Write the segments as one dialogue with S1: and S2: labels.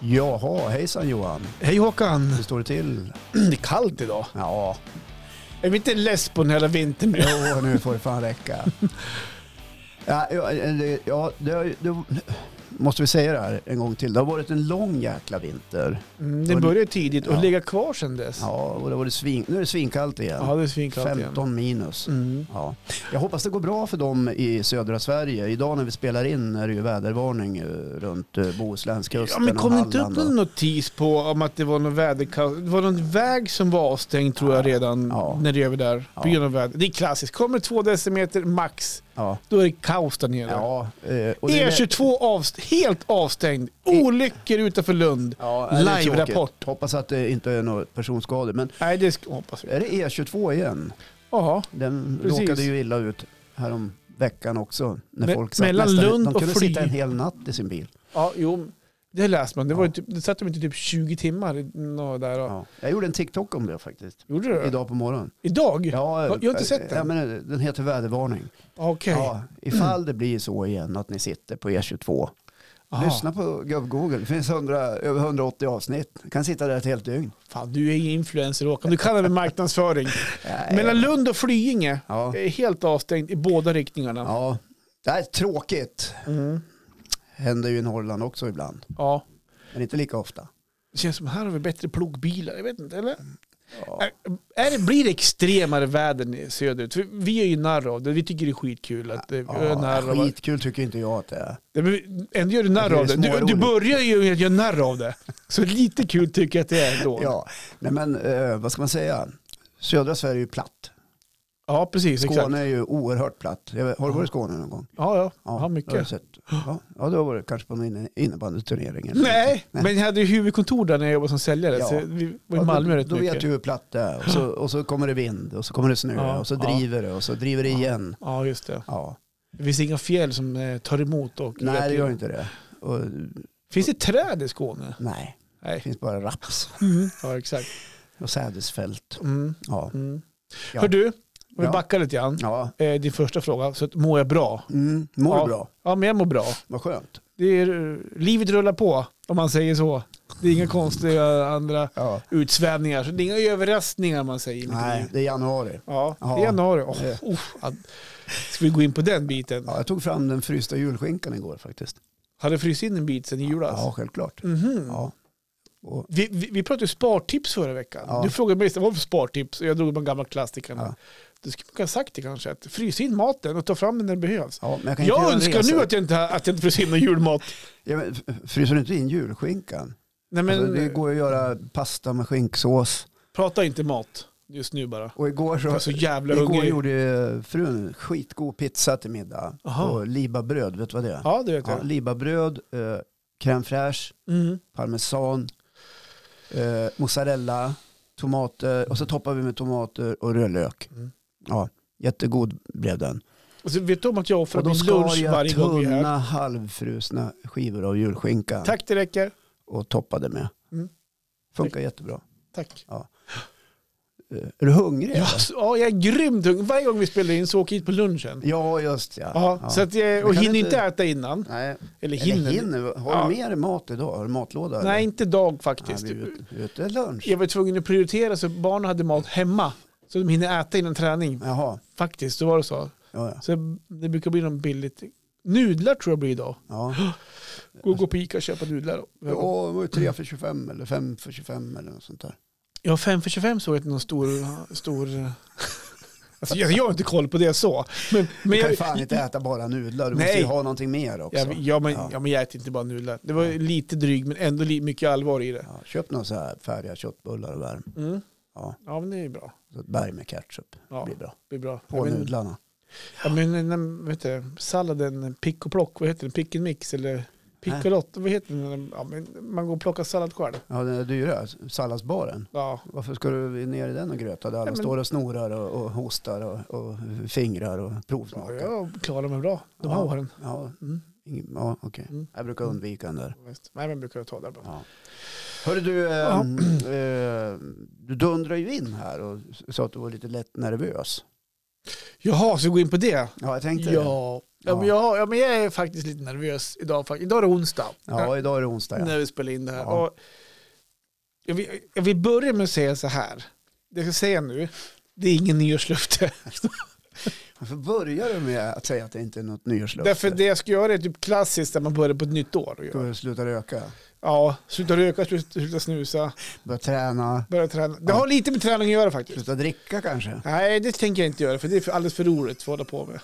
S1: Jaha, hejsan Johan.
S2: Hej Håkan!
S1: Hur står det till?
S2: Det är kallt idag.
S1: Ja,
S2: Är vi inte less på den hela vintern nu?
S1: jo, nu får det fan räcka. Ja, ja, det- ja det, har ju- det, måste vi säga det här en gång till. Det har varit en lång jäkla vinter.
S2: Mm, det började tidigt och
S1: Ja.
S2: ligger kvar sedan dess.
S1: Ja, och det har varit svin, nu är det svinkallt igen.
S2: Ja, det är svinkallt igen.
S1: 15 minus.
S2: Mm.
S1: Ja. Jag hoppas det går bra för dem i södra Sverige. Idag när vi spelar in är det ju vädervarning eh, runt eh,
S2: Ja,
S1: Bohuslänkusten
S2: men kom det
S1: och
S2: inte upp
S1: Halland.
S2: någon notis på om att det var någon väderkaos? Det var någon väg som var avstängd tror jag redan
S1: Ja.
S2: när det är över där.
S1: Ja.
S2: På grund av väder. Det är klassiskt. Kommer två decimeter max,
S1: Ja,
S2: då är det kaos där nere.
S1: ja, eh, och
S2: E
S1: det är-
S2: E22 avst helt avstängd. Olyckor utanför Lund.
S1: Ja, det är tråkigt.
S2: Live-rapport.
S1: Hoppas att det inte är några personskador. Men
S2: Nej, det sk- hoppas vi.
S1: är det E22 igen?
S2: Jaha.
S1: Den
S2: Precis.
S1: råkade ju illa ut härom veckan också. När
S2: Me-
S1: folk satt
S2: mellan
S1: nästan,
S2: Lund
S1: de
S2: och
S1: kunde
S2: Fly-
S1: sitta en hel natt i sin bil.
S2: Ja, jo. Det läste man. Det, var ju
S1: Ja.
S2: typ, det satt de inte typ 20 timmar i- nå, där. Och,
S1: Ja. Jag gjorde en TikTok om det faktiskt.
S2: Gjorde du det?
S1: Idag på morgonen.
S2: Idag?
S1: Ja,
S2: jag har inte sett den.
S1: Ja, men den heter vädervarning.
S2: Okej.
S1: Ja, ifall det blir så igen att ni sitter på E22.
S2: Aha.
S1: Lyssna på Gubb-Google. Det finns 100, över 180 avsnitt. Ni kan sitta där ett helt dygn.
S2: Fan, du är ju influencer Håkan. Du kan det med marknadsföring. Mellan Lund och Flyinge
S1: Ja.
S2: är helt avstängt i båda riktningarna. Ja.
S1: Ja, det här är tråkigt.
S2: Mm.
S1: Händer ju i Norrland också ibland.
S2: ja.
S1: Men inte lika ofta.
S2: Det känns som här har vi bättre plogbilar. Jag vet inte, eller? Är, är det, blir det extremare väder i söderut? För vi är ju narr av det. Vi tycker det är skitkul att äh, det är
S1: Ja,
S2: narr av
S1: skitkul tycker inte jag att det är.
S2: det. Men vi- Ändå gör du narr
S1: Det är
S2: av det. Du, du
S1: småroligt.
S2: börjar ju med att göra narr av det. Så lite kul tycker jag att det är ändå.
S1: Ja, nej men eh, vad ska man säga? Södra Sverige är ju platt.
S2: Ja, precis.
S1: Skåne
S2: Exakt.
S1: är ju oerhört platt. Jag vet, har du varit i Skåne någon gång?
S2: Ja, ja.
S1: det
S2: ja,
S1: har jag
S2: mycket.
S1: sett. Ja, ja, det har varit kanske på en inne- innebandyturnering. eller
S2: Nej,
S1: Nej.
S2: men jag hade ju huvudkontor där när jag jobbade som säljare.
S1: Ja.
S2: Så vi var i
S1: Ja,
S2: Malmö
S1: då,
S2: rätt
S1: Då
S2: mycket.
S1: vet du hur platt det är. Och så, och så kommer det vind och så kommer det snö
S2: Ja,
S1: och så
S2: ja.
S1: driver det och så driver det igen.
S2: Ja, just det.
S1: Ja.
S2: Det finns inga fjäll som eh, tar emot. Och
S1: Nej, det gör inte det. Och,
S2: Finns det träd i Skåne?
S1: nej, det
S2: Nej.
S1: finns bara raps
S2: Ja, exakt.
S1: och sädesfält.
S2: Mm.
S1: Ja.
S2: Mm.
S1: Ja.
S2: Hör du, om vi
S1: Ja.
S2: backar lite grann.
S1: ja.
S2: Eh, din första fråga, så att, mår jag bra?
S1: Mm, mår
S2: ja.
S1: du bra?
S2: Ja, men jag mår bra.
S1: Vad skönt.
S2: Det är, eh, livet rullar på, om man säger så. Det är inga konstiga andra
S1: Ja.
S2: utsvävningar. Så det är inga överraskningar man säger. i mitt
S1: Nej,
S2: liv.
S1: det är januari.
S2: Ja, det
S1: Ja.
S2: är januari. Oh,
S1: Det-
S2: oh, ja. Ska vi gå in på den biten?
S1: Ja, jag tog fram den frysta julskinkan igår faktiskt.
S2: Har du fryst in en bit sen i julas?
S1: Ja, självklart.
S2: Mhm.
S1: Ja. Och,
S2: Vi, vi, vi pratade ju spartips förra veckan.
S1: Ja.
S2: Du frågade mig vad var det för spartips och jag drog de gamla klassikerna.
S1: Ja.
S2: Du skulle kunna ha sagt det kanske, att frys in maten och ta fram den när det behövs.
S1: ja, men jag kan inte göra alltså.
S2: jag
S1: en
S2: önskar
S1: resa.
S2: nu att jag inte, att jag inte fryser in någon julmat.
S1: Ja, men f- fryser du inte in julskinkan?
S2: Nej men,
S1: Alltså, det går att göra pasta med skinksås.
S2: prata inte mat just nu bara.
S1: Och igår
S2: Jag är
S1: så,
S2: så jävla
S1: igår
S2: hungrig.
S1: gjorde frun skitgod pizza till middag.
S2: Aha.
S1: Och libabröd, vet du vad det är?
S2: Ja, det vet
S1: Ja,
S2: jag.
S1: libabröd, eh, crème fraîche,
S2: Mm.
S1: parmesan, eh, mozzarella, tomater och så toppar vi med tomater och rödlök.
S2: Mm.
S1: Ja, jättegod blev den.
S2: Och så vet du om att jag offrar
S1: Och då
S2: min
S1: skar
S2: lunch
S1: jag
S2: varje gång vi är här?
S1: tunna halvfrusna skivor av julskinka
S2: Tack, det räcker.
S1: och toppade med.
S2: Mm.
S1: Funkar jättebra.
S2: Tack.
S1: Eh, Är du hungrig?
S2: Ja,
S1: eller?
S2: så- ja, jag är grymt hungrig. Varje gång vi spelar in så åker jag hit på lunchen.
S1: ja just ja.
S2: Ja,
S1: Ja.
S2: Så att jag,
S1: Men
S2: och
S1: kan
S2: hinner
S1: du
S2: inte
S1: inte-
S2: äta innan.
S1: Nej,
S2: Eller hinner.
S1: eller hinner. Har
S2: Ja.
S1: du med dig mat idag? Har du matlåda?
S2: Nej,
S1: eller?
S2: inte idag
S1: Nej,
S2: faktiskt.
S1: vi är ute- ute lunch.
S2: jag var tvungen att prioritera så barnen hade mat hemma. Så de hinner äta innan träning.
S1: Jaha,
S2: Faktiskt, så var det så.
S1: ja, ja.
S2: Så det brukar bli något billigt. Nudlar tror jag blir idag.
S1: ja.
S2: Gå, gå på Ica och köpa nudlar.
S1: Ja, det var ju 3 för 25 eller 5 för 25 eller något sånt där.
S2: Ja, 5 för 25 såg jag inte någon stor... stor alltså, jag, jag har inte koll på det så. Men,
S1: Du
S2: men
S1: kan
S2: jag,
S1: ju fan inte äta bara nudlar, du
S2: Nej.
S1: måste ju ha någonting mer också.
S2: jag, ja, men,
S1: Ja.
S2: ja, men jag äter inte bara nudlar. Det var lite dryg men ändå li, mycket allvar i det.
S1: Ja, köp några så här färdiga köttbullar och värm.
S2: Mm.
S1: Ja,
S2: Ja, men det är ju bra.
S1: så ett berg med ketchup
S2: Ja.
S1: blir bra.
S2: Det är bra.
S1: På
S2: Ja, men-
S1: nudlarna.
S2: Ja, men den, vet du, salladen pick och plock, vad heter den? Pick and mix eller pick och
S1: Nej.
S2: lott, vad heter den? Ja, men man går och plockar sallad själv.
S1: Ja, den är dyra, salladsbaren.
S2: Ja.
S1: Varför ska du ner i den och gröta där alla
S2: Ja, men-
S1: står och snorar och, och hostar och, och fingrar och
S2: ja,
S1: provsmakar? Ja,
S2: jag klarar mig bra de här
S1: Ja.
S2: åren.
S1: ja.
S2: Mm.
S1: ingen- ja okej.
S2: Mm.
S1: Jag brukar undvika den där.
S2: Visst. Nej, men brukar jag ta där bara.
S1: Ja. Hörru du, eh,
S2: Ja.
S1: eh, du dundrade ju in här och sa att du var lite lätt nervös.
S2: Jaha, så gå in på det?
S1: Ja, jag tänkte det.
S2: Ja, Ja, men jag, ja, men jag är faktiskt lite nervös idag. fakt- Idag är det onsdag
S1: Ja, idag är det onsdag. Ja.
S2: när vi spelar in det här.
S1: Ja.
S2: Och jag, vill, jag vill börja med att säga så här. Det jag ska säga nu, det är ingen nyårslöfte.
S1: Varför börjar du med att säga att det inte är något nyårslöfte?
S2: Därför det jag ska göra är typ klassiskt när man börjar på ett nytt år. och gör.
S1: Du slutar röka,
S2: Ja, sluta röka, sluta, sluta snusa,
S1: börja träna,
S2: börja träna. Det
S1: Ja.
S2: har lite med träning att göra faktiskt.
S1: sluta dricka kanske.
S2: Nej, det tänker jag inte göra för det är för- alldeles för roligt för att hålla på med.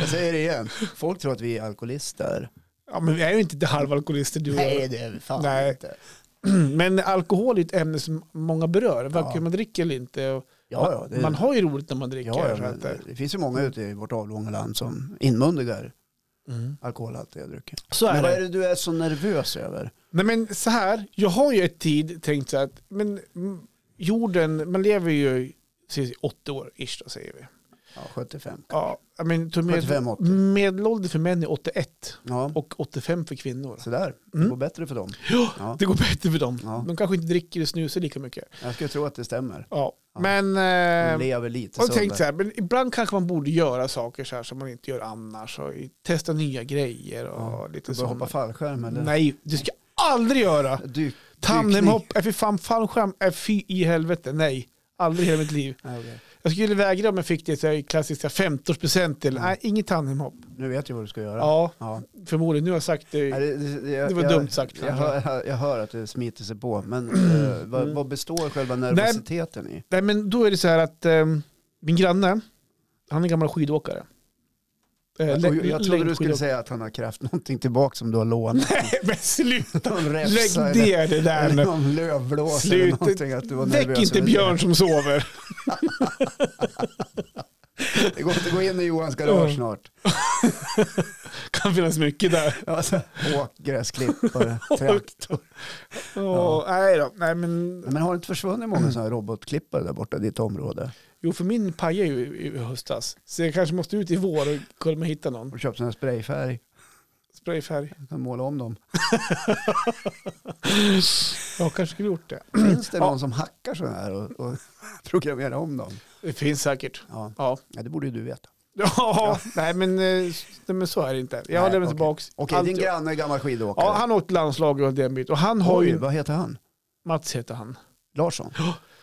S1: Jag säger det igen, folk tror att vi är alkoholister.
S2: Ja, men vi är ju inte halvalkoholister du och jag.
S1: Nej, det är vi fan
S2: Nej.
S1: inte.
S2: Men alkohol är ett ämne som många berör, varken
S1: Ja.
S2: man dricker eller inte. Och
S1: Ja, ja, det,
S2: Man har ju roligt när man dricker.
S1: ja, ja,
S2: så
S1: men
S2: att det-
S1: det finns ju många ute i vårt avlånga land som inmundigar
S2: Mm.
S1: alkoholhaltiga drycker.
S2: Så är
S1: Men vad
S2: det.
S1: är det du är så nervös över?
S2: Nej men så här, jag har ju ett tid tänkt så att men, mm, jorden, man lever ju precis 80 år ish då säger vi.
S1: Ja, 75.
S2: Ja, I mean, to med,
S1: 75-80.
S2: medelålder för män är 81
S1: Ja,
S2: och 85 för kvinnor.
S1: sådär. Det
S2: Mm.
S1: går bättre för dem.
S2: Ja,
S1: Ja,
S2: det går bättre för dem.
S1: Ja.
S2: De kanske inte dricker och snusar lika mycket.
S1: jag skulle tro att det stämmer.
S2: Ja.
S1: Ja.
S2: Men
S1: De
S2: eh,
S1: lever lite
S2: jag har tänkt så
S1: sönder.
S2: här, men ibland kanske man borde göra saker så här som man inte gör annars. Och i- testa nya grejer och
S1: Ja,
S2: lite
S1: Du börjar hoppa
S2: sånt.
S1: fallskärm eller?
S2: Nej, det ska jag aldrig göra.
S1: Dyk, dykning?
S2: Tandemhopp, är fy fan fallskärm, är fy i helvete, nej. Aldrig i hela mitt liv.
S1: Nej, okej.
S2: Jag skulle vägra om jag fick det så här klassiska 15% till.
S1: Mm.
S2: Nej, inget tandemhopp.
S1: Nu vet jag vad du ska göra.
S2: Ja,
S1: Ja.
S2: förmodligen. Nu har jag sagt
S1: Nej,
S2: det.
S1: det, det, jag,
S2: Det var
S1: jag,
S2: dumt sagt
S1: Jag
S2: kanske. Mm.
S1: hör, jag hör att det smiter sig på, men eh, vad, vad består själva nervositeten i?
S2: Nej, men då är det så här att eh, min granne, han är gammal skidåkare. Eh,
S1: Jag,
S2: lä-
S1: Alltså, jag trodde du skulle
S2: längdskidåkare.
S1: säga att han har krävt någonting tillbaka som du har lånat.
S2: Nej, men sluta.
S1: Någon
S2: Lägg
S1: räfsa eller,
S2: ner det där
S1: eller
S2: nu.
S1: någon lövblås eller
S2: Slut.
S1: någonting. Att du var
S2: Väck
S1: nervös
S2: inte
S1: över det.
S2: Björn som sover.
S1: Det går inte att gå in i Johans garage
S2: Ja.
S1: snart.
S2: kan finnas mycket där.
S1: Alltså, åk gräsklippare, trakt.
S2: Åh, nej då. Nej, men,
S1: Men har det inte försvunnit många sådana här robotklippare där borta i ditt område?
S2: jo, för min pajade ju i, i höstas. Så jag kanske måste ut i vår och kolla om jag hittar någon.
S1: Har du köpt sån här sprayfärg?
S2: Sprayfärg.
S1: Du kan måla om dem.
S2: Jag kanske skulle gjort det.
S1: Finns det någon som hackar sådana här och, och programmerar om dem?
S2: Det finns säkert.
S1: Ja.
S2: Ja.
S1: ja, det borde ju du veta.
S2: Ja, Nej, men, eh, s- nej, men så är det inte. Jag har
S1: Nej,
S2: lämnat
S1: okej.
S2: tillbaka.
S1: Okej,
S2: allt
S1: din
S2: jag-
S1: granne är gammal skidåkare.
S2: Ja, han har åkt landslaget och den biten. Och han har
S1: Oj,
S2: ju,
S1: vad heter han?
S2: Mats heter han.
S1: Larsson?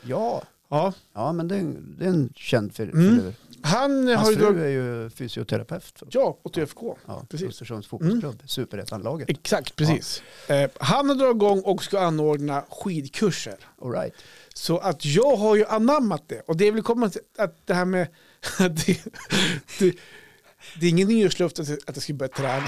S1: Ja,
S2: Ja.
S1: ja men det är en, det är en känd fil-
S2: Mm.
S1: filur.
S2: Han eh, har
S1: Hans
S2: ju dragit,
S1: fru är ju fysioterapeut.
S2: ja, åt ÖFK.
S1: Ja,
S2: precis. Mm.
S1: Östersunds fotbollsklubb, superettanlaget.
S2: Exakt, precis. Eh, han har dragit igång och ska anordna skidkurser.
S1: All right.
S2: Så att jag har ju anammat det. Och det är väl komma till att det här med... Att det, det, det är ingen nyårslöfte att att jag ska börja träna.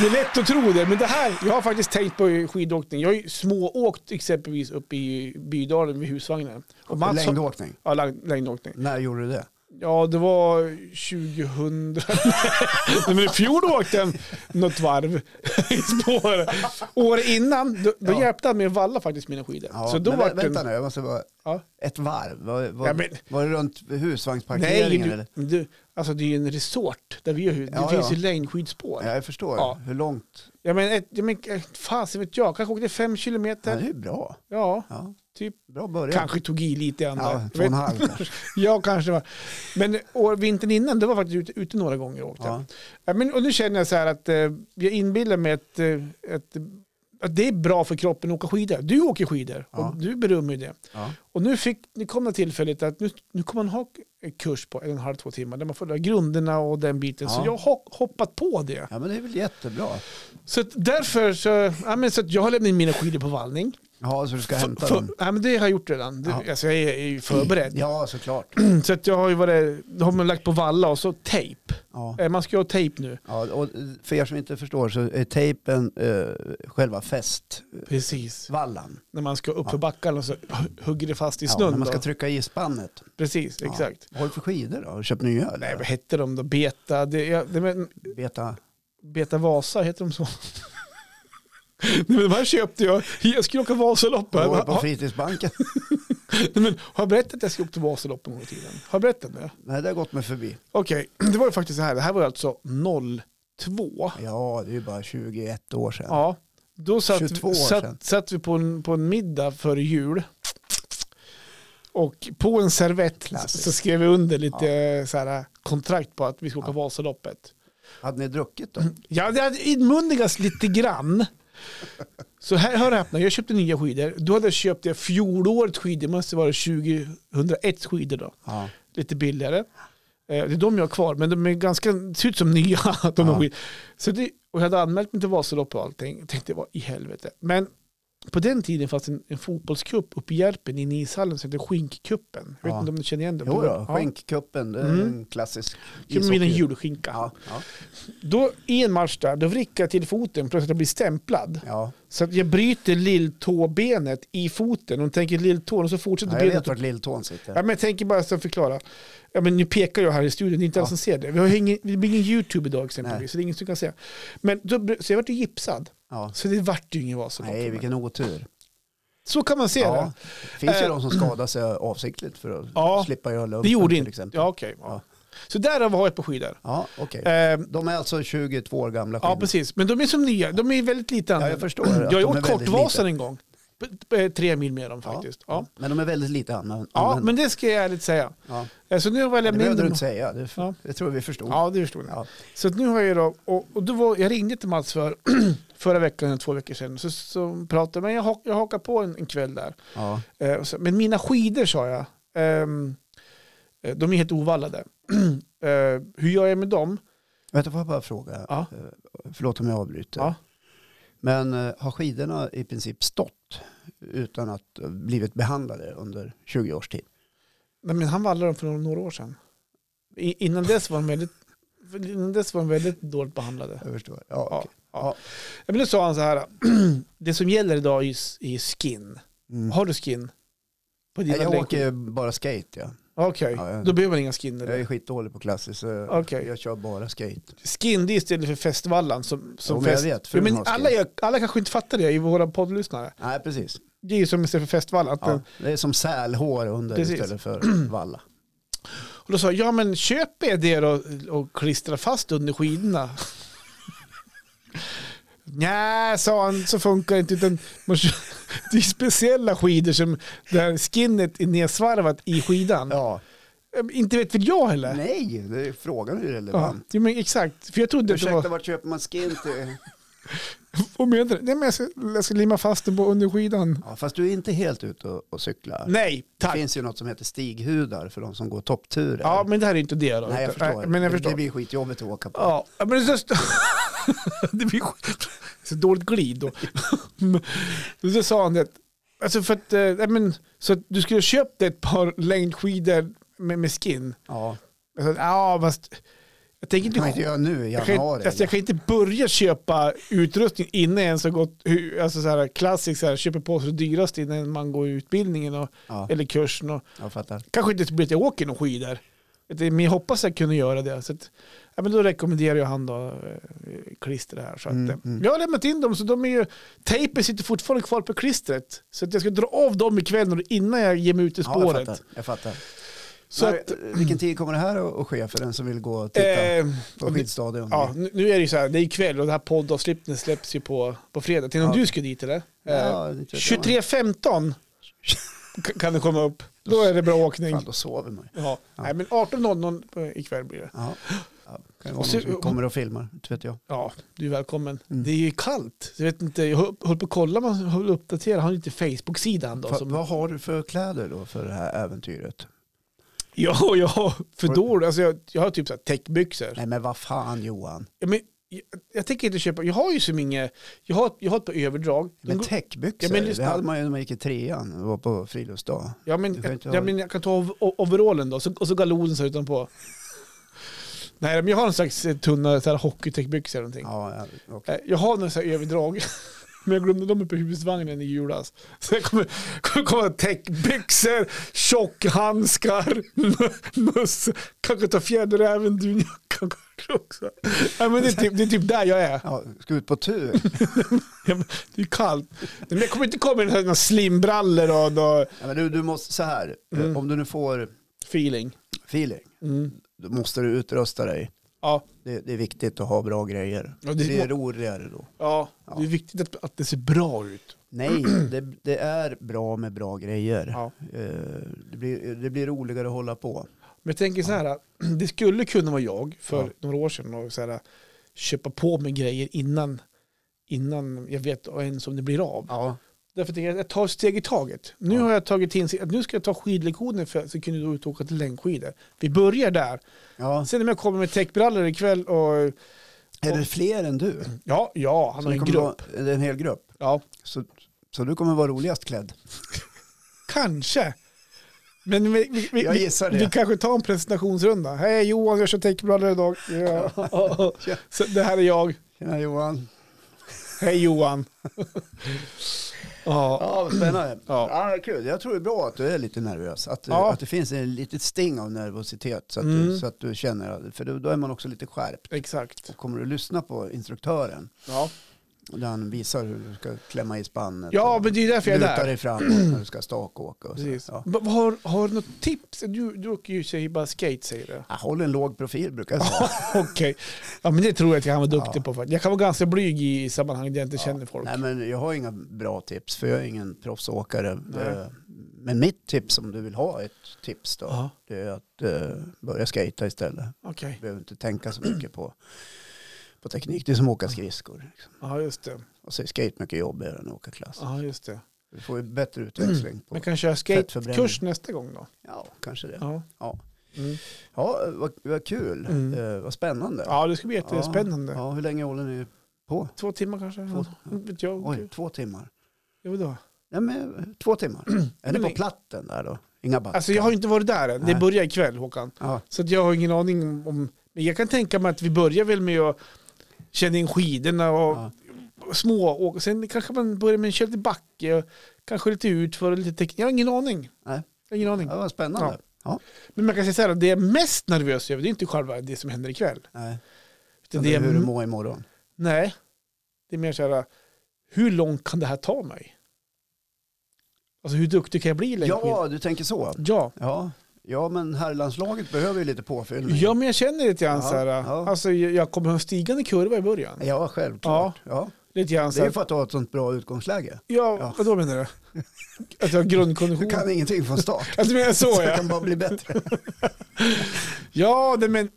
S2: Det är lätt att tro det, men det här, jag har faktiskt tänkt på skidåkning. Jag har ju smååkt exempelvis uppe i Bydalen med husvagnen. Och Mats har-
S1: Längdåkning.
S2: Ja, läng- längdåkning.
S1: När gjorde du det?
S2: Ja, det var 2000. Nej, men i fjol åkte jag något varv i spår. År innan, då, då
S1: Ja.
S2: hjälpte han mig att valla faktiskt mina skidor.
S1: Ja,
S2: så då
S1: men
S2: var
S1: vä- vänta
S2: det...
S1: nu, jag måste bara...
S2: Ja.
S1: Ett varv? Var, var,
S2: Ja, men-
S1: var det runt
S2: Nej,
S1: husvagnsparkeringen?
S2: du,
S1: eller?
S2: du, alltså det är ju en resort där vi har hus. Det
S1: Ja,
S2: finns
S1: ja.
S2: ju längdskidspår.
S1: Ja, jag förstår.
S2: Ja.
S1: Hur långt?
S2: Ja, men, ett, ja, men eh, fasen vet jag, kanske åkte fem
S1: Ja, det är
S2: kilometer.
S1: ju bra.
S2: Ja,
S1: Ja,
S2: typ.
S1: bra början.
S2: Kanske tog i lite i andra.
S1: Ja, två
S2: Jag
S1: och en
S2: vet-
S1: halv kanske.
S2: Ja, kanske det var. Men år, vintern innan, det var faktiskt ute, ute några gånger och åkte.
S1: Ja.
S2: Ja, men, och nu känner jag så här att eh, jag inbillar mig att, eh, att, att det är bra för kroppen att åka skidor. Du åker skidor och
S1: Ja.
S2: du berömmer ju det.
S1: Ja.
S2: Och nu, fick, nu kom det tillfället att nu, nu kommer man ha en kurs på en och en halv, två timmar där man får lära grunderna och den biten. Så
S1: Ja.
S2: jag har hoppat på det.
S1: ja, men det är väl jättebra.
S2: Så att därför så, ja, men, så att jag har lämnat in mina skidor på vallning.
S1: Ja, så du ska hämta
S2: För-
S1: dem?
S2: ja, men det har jag gjort redan. Det,
S1: Ja.
S2: alltså, jag är, är ju förberedd.
S1: Ja, såklart.
S2: Så att jag har ju varit, då har man lagt på valla och så tejp.
S1: Ja.
S2: Eh, Man ska ju ha tejp nu.
S1: Ja, och för er som inte förstår så är tejpen eh, själva festvallan.
S2: Precis. När man ska upp för backarna så hu- hugger det fast i
S1: Ja,
S2: snön.
S1: när man
S2: då.
S1: ska trycka i spannet.
S2: Precis,
S1: Ja.
S2: exakt.
S1: Vad har du för skidor då? Har du köpt nya? Eller?
S2: Nej, vad hette de då? Beta, det, jag, det, men,
S1: Beta.
S2: Beta Vasa, heter de så? Nej, men de här köpte jag. Jag skulle åka Vasaloppet.
S1: Går
S2: Har,
S1: på
S2: har,
S1: fritidsbanken?
S2: nej, men, har jag berättat att jag skulle åka till Vasaloppet en gång i tiden? Har jag berättat det?
S1: Nej, det har gått mig förbi.
S2: Okej, det var ju faktiskt så här. Det här var ju alltså 02.
S1: Ja, det är ju bara 21 år sedan.
S2: Ja, då satt,
S1: 22
S2: vi,
S1: år sedan.
S2: satt, satt vi på en, på en middag före jul. Och på en servett
S1: Klassiskt.
S2: så skrev vi under lite eh, så här, kontrakt på att vi ska åka Vasaloppet.
S1: Hade ni druckit då?
S2: Ja, det hade inmundigats lite grann. Så här, hör och häpna, jag köpte nya skidor. Då hade jag köpt jag fjolårets skidor, det måste vara 2001 skidor då.
S1: Ja.
S2: Lite billigare. Eh, Det är de jag har kvar, men de är ganska, ser ut som nya. De
S1: Ja.
S2: ja. Så det, och jag hade anmält mig till Vasaloppet och allting. Jag tänkte, vad i helvete. Men på den tiden fanns en, en fotbollscup uppe i Järpen i en ishallen som hette Skinkcupen. Jag vet
S1: Ja.
S2: inte om du känner igen den?
S1: Jo då,
S2: Ja.
S1: skänkkuppen, det är
S2: Mm.
S1: en klassisk
S2: Kuppen med en
S1: ishockey.
S2: julskinka.
S1: Ja, ja,
S2: Då i en match där, då vrickar jag till foten plus att jag blir stämplad.
S1: ja.
S2: Så att jag bryter lilltåbenet i foten. Hon tänker lilltån och så fortsätter
S1: ja jag
S2: benet.
S1: vet vart lilltån sitter.
S2: Ja, men jag tänker bara så att förklara. Ja, men nu pekar jag här i studion, det är inte alla som ser det. Vi har ju ingen, det blir ingen YouTube idag exempelvis,
S1: Nej.
S2: så det är ingen som kan se. Men då, br- så jag vart ju gipsad,
S1: Ja.
S2: så det vart ju ingen Vasalopp.
S1: Nej, vilken otur.
S2: Så kan man se
S1: Ja.
S2: det.
S1: finns ju
S2: Eh.
S1: de som skadar sig avsiktligt för att
S2: Ja.
S1: slippa göra lumpen
S2: Det gjorde
S1: till
S2: inte...
S1: exempel.
S2: Ja, okej. ja. Så därav har jag ett par skidor.
S1: Ja, okej.
S2: Eh,
S1: De är alltså 22 år gamla
S2: Ja,
S1: skidor.
S2: precis. Men de är som nya. De är väldigt lite annorlunda.
S1: jag förstår att
S2: Jag
S1: de
S2: har
S1: är
S2: gjort
S1: väldigt
S2: kortvasan
S1: lite.
S2: en gång. B- b- Tre mil med dem
S1: Ja.
S2: faktiskt. Ja,
S1: Men de är väldigt lite använda.
S2: ja. men det ska jag ärligt säga.
S1: ja.
S2: Eh, Så nu har jag
S1: Det
S2: lämnat in
S1: behövde du
S2: dem.
S1: inte säga, det,
S2: Ja.
S1: det tror jag vi förstod.
S2: Ja, det förstod jag.
S1: Ja.
S2: Så att nu har jag då, och, och då var, jag ringde till Mats för förra veckan, eller två veckor sedan, så, så pratade men jag, hak, jag hakar på en, en kväll där.
S1: Ja.
S2: Eh, och så, men mina skidor sa jag, ehm, eh, de är helt ovallade. eh, hur gör jag med dem?
S1: Vänta, får jag bara fråga?
S2: Ja.
S1: Eh, Förlåt om jag avbryter.
S2: Ja.
S1: Men eh, har skidorna i princip stått utan att eh, blivit behandlade under 20 års tid?
S2: Nej, men han vallade dem för några, några år sedan. I, innan, dess var de väldigt, innan dess var de väldigt dåligt behandlade.
S1: Jag förstår. Ja,
S2: Ja,
S1: okej.
S2: ja. Men då sa han så här, det som gäller idag är, ju s- är skin.
S1: Mm.
S2: Har du skin? På dina
S1: Nej, jag
S2: längdskidor?
S1: åker ju bara skate. Ja.
S2: Okej,
S1: Ja, jag-
S2: då behöver man inga skin.
S1: Jag
S2: Eller?
S1: är skitdålig på klassiskt så
S2: Okej.
S1: jag kör bara skate.
S2: Skin det är istället för festvallan. Som, som
S1: Jo, men jag
S2: fest...
S1: vet,
S2: Jo,
S1: frun
S2: men
S1: har
S2: alla,
S1: skate.
S2: gör- alla kanske inte fattar det i våra poddlyssnare.
S1: Nej, precis.
S2: Det är ju som istället för festvallan. att
S1: Ja.
S2: den-
S1: Det är som sälhår under
S2: Precis.
S1: istället för valla.
S2: Och då sa jag, ja men köp er det då och klistra fast under skidorna. Nej, sa han, så funkar det inte. Utan man kö- det är speciella skidor som där skinnet är nedsvarvat i skidan.
S1: Ja.
S2: Ehm, Inte vet väl jag heller.
S1: Nej, det är, frågan är ju
S2: Ja,
S1: relevant.
S2: jo, men exakt, för jag trodde att det var...
S1: Ursäkta, vart köper man skin till?
S2: Vad menar du? Nej, men jag ska, jag ska limma fast den på underskidan.
S1: Ja, fast du är inte helt ute och, och cyklar.
S2: Nej,
S1: det
S2: tack.
S1: finns ju något som heter stighudar för de som går toppturer.
S2: Ja, men det här är inte det då. äh,
S1: Nej, jag förstår.
S2: men jag
S1: Det-
S2: förstår.
S1: Det blir skitjobbigt att åka på.
S2: Ja, men det är så... det blir skit. Så dåligt glid då. Men så sa han det. Alltså för att, eh, nej, men, så att du skulle ha köpt ett par längdskidor med, med skin.
S1: Ja.
S2: Jag sa, ja, fast jag tänker
S1: Det
S2: inte...
S1: kan man inte göra nu i
S2: Jag kan,
S1: januari.
S2: inte, alltså jag kan inte börja köpa utrustning innan jag ens har gått, hu- alltså så här klassiskt, så här, köper på sig det dyraste innan man går utbildningen och,
S1: Ja,
S2: eller kursen. Och,
S1: jag fattar.
S2: kanske inte blir att jag åker någon skidor. Det- Men jag hoppas jag kunde göra det. Så att, ja, men då rekommenderar jag han då, eh, klister här. Så att,
S1: Mm,
S2: eh,
S1: mm.
S2: Jag har lämnat in dem, så de är ju, tejpen sitter fortfarande kvar på klistret. Så att jag ska dra av dem ikväll när- innan jag ger mig ut i
S1: Ja, jag
S2: spåret.
S1: fattar. Jag fattar.
S2: så
S1: Men,
S2: att,
S1: vilken tid kommer det här att att ske för den som vill gå och titta Mm.
S2: eh,
S1: på skidstadion?
S2: ja, nu nu är det ju så här, det är ikväll och den här poddavslutningen släpps ju på, på fredag. Tänk om
S1: Ja.
S2: du ska dit eller? Eh,
S1: Ja, det tror jag.
S2: 23.15 k- kan det komma upp. Då är det bra åkning.
S1: Fan, då sover man ju.
S2: Ja. Nej, men 18.00 eh, ikväll blir det.
S1: Ja. Ja, kan det vara
S2: Och så-
S1: någon som kommer och filmar, inte vet jag.
S2: Ja, du är välkommen.
S1: Mm.
S2: Det är ju kallt. Jag vet inte, jag höll höll på att kolla, man höll uppdatera. Har inte Facebook-sidan då?
S1: Fa-
S2: Som,
S1: Vad har du för kläder då för det här äventyret?
S2: ja, ja, för dåligt. Alltså, jag, jag har typ så här täckbyxor.
S1: Nej men vad fan Johan.
S2: Ja, men, jag, jag tänker inte köpa, jag har ju som inget, jag har, jag har ett par överdrag. De
S1: Men
S2: går-
S1: täckbyxor,
S2: Ja, men
S1: det
S2: lyssna.
S1: hade man ju när man gick i trean och var på friluftsdag.
S2: ja, men,
S1: du kan
S2: jag,
S1: inte ha-
S2: ja, men jag kan ta ov- o- overallen då, så, och så galonen så här utanpå. Nej, men jag har en slags eh, tunna så här hockeytäckbyxor eller någonting.
S1: Ja, ja, okej.
S2: Eh, Jag har några så här överdrag. Men jag glömde dem uppe i husvagnen i julas. Så jag kommer, kommer komma täckbyxor, tjockhandskar, möss. Kanske ta fjäderräven, dunjackan kanske också. Ja, men det, är typ, det är typ där jag är.
S1: ja, ska ut på tur.
S2: Ja, men Det är kallt. Men jag kommer inte komma i några slimbrallor och, och
S1: Ja, men du, du måste, så här, eh,
S2: Mm.
S1: om du nu får
S2: feeling.
S1: feeling,
S2: Mm.
S1: då måste du utrusta dig.
S2: Ja,
S1: Det, det är viktigt att ha bra grejer.
S2: Ja, det-
S1: det, är roligare då.
S2: ja, det är viktigt att, att det ser bra ut.
S1: Nej, det, det är bra med bra grejer.
S2: Ja.
S1: Eh, Det, blir, det blir roligare att hålla på.
S2: Men jag tänker så här, att det skulle kunna vara jag för
S1: Ja.
S2: några år sedan och så här, köpa på mig grejer innan, innan jag vet ens om det blir av.
S1: Ja.
S2: Därför tänker jag att jag tar ett steg i taget. Nu
S1: Ja.
S2: har jag tagit in, att nu ska jag ta skidlektioner för att så kunna då ut och åka till längdskidor. Vi börjar där.
S1: ja.
S2: Sen om jag kommer med täckbrallor ikväll och
S1: Är det fler än du?
S2: ja, ja, han
S1: Så
S2: har
S1: det
S2: en
S1: kommer
S2: grupp.
S1: Vara, det är en hel grupp.
S2: Ja,
S1: Så, så du kommer vara roligast klädd.
S2: kanske. Men vi, vi, vi,
S1: Jag gissar det.
S2: vi kanske tar en presentationsrunda. Hej Johan, jag kör täckbrallor idag. Ja. Så det här är jag.
S1: Tjena Johan.
S2: Hej Johan. ja.
S1: Ja, vad spännande.
S2: Ja.
S1: Ja. vad kul. Jag tror det är bra att du är lite nervös. Att, du-
S2: Ja.
S1: att det finns en litet sting av nervositet så att,
S2: Mm.
S1: du, så att du känner, att- för då, då är man också lite skärpt.
S2: exakt.
S1: Kommer du lyssna på instruktören
S2: Ja.
S1: när han visar hur du ska klämma i spannet?
S2: ja,
S1: och
S2: men det är därför jag är
S1: luta
S2: där.
S1: dig framåt när du ska stakåka och så.
S2: Precis.
S1: Ja.
S2: Men Har, har du något tips? Du, du åker ju i och för sig bara skate säger du.
S1: Ja, Håll en låg profil brukar jag säga.
S2: Okej, ja, men det tror jag att jag kan vara duktig
S1: Ja.
S2: på. faktiskt. Jag kan vara ganska blyg i sammanhang där jag inte
S1: Ja.
S2: känner folk.
S1: Nej, men jag har inga bra tips för jag är ingen proffsåkare.
S2: Nej.
S1: Eh, Men mitt tips om du vill ha ett tips då,
S2: Ja,
S1: det är att eh, börja skata istället.
S2: okej.
S1: Du behöver inte tänka så mycket på, på teknik. Det är som att åka skridskor. Liksom.
S2: Ja, just det.
S1: Och så är skate mycket jobbigare än att åka klass.
S2: Ja, just det.
S1: Du får ju bättre utväxling på...
S2: Men kan jag köra
S1: Fettförbränning.
S2: skatekurs nästa gång då?
S1: Ja, kanske det.
S2: Ja,
S1: Ja,
S2: mm.
S1: ja vad, vad kul.
S2: Mm.
S1: Eh, vad spännande.
S2: ja det ska bli jättespännande.
S1: Ja, hur länge håller ni på?
S2: Två timmar kanske?
S1: Två-
S2: Ja, vet jag.
S1: Oj, två timmar.
S2: Jo då.
S1: Nej, men, två timmar. är det
S2: Men-
S1: på platten där då? Inga backar?
S2: Alltså jag har ju inte varit där än. Det
S1: Nej.
S2: börjar ikväll Håkan.
S1: ja.
S2: Så att jag har ingen aning om- om... Men jag kan tänka mig att vi börjar väl med att känna in skidorna och
S1: Ja.
S2: små och sen kanske man börjar med en köra lite backe och kanske lite ut för lite teknik. Jag har ingen aning.
S1: Nej.
S2: Jag har ingen aning.
S1: Ja, vad spännande. Ja.
S2: Men man kan säga så här att det jag är mest nervös över det är inte själva det som händer ikväll.
S1: Nej.
S2: Utan
S1: det är hur
S2: m-
S1: du mår imorgon.
S2: Nej, det är mer så här hur långt kan det här ta mig? Alltså hur duktig kan jag bli i längdskidor?
S1: Ja, du tänker så.
S2: ja.
S1: Ja, ja men herrlandslaget behöver ju lite påfyllning.
S2: Ja, men jag känner lite grann
S1: Ja,
S2: så här.
S1: ja.
S2: Alltså, jag jag kommer ha en stigande kurva i början.
S1: Ja, självklart. Ja.
S2: Lite grann så
S1: Det är
S2: här.
S1: för att du har ett sånt bra utgångsläge.
S2: Ja,
S1: Ja.
S2: vadå menar du? Att jag har grundkondition?
S1: Du kan ingenting från start.
S2: Alltså, men så
S1: det
S2: ja.
S1: kan bara bli bättre.
S2: Ja, det, men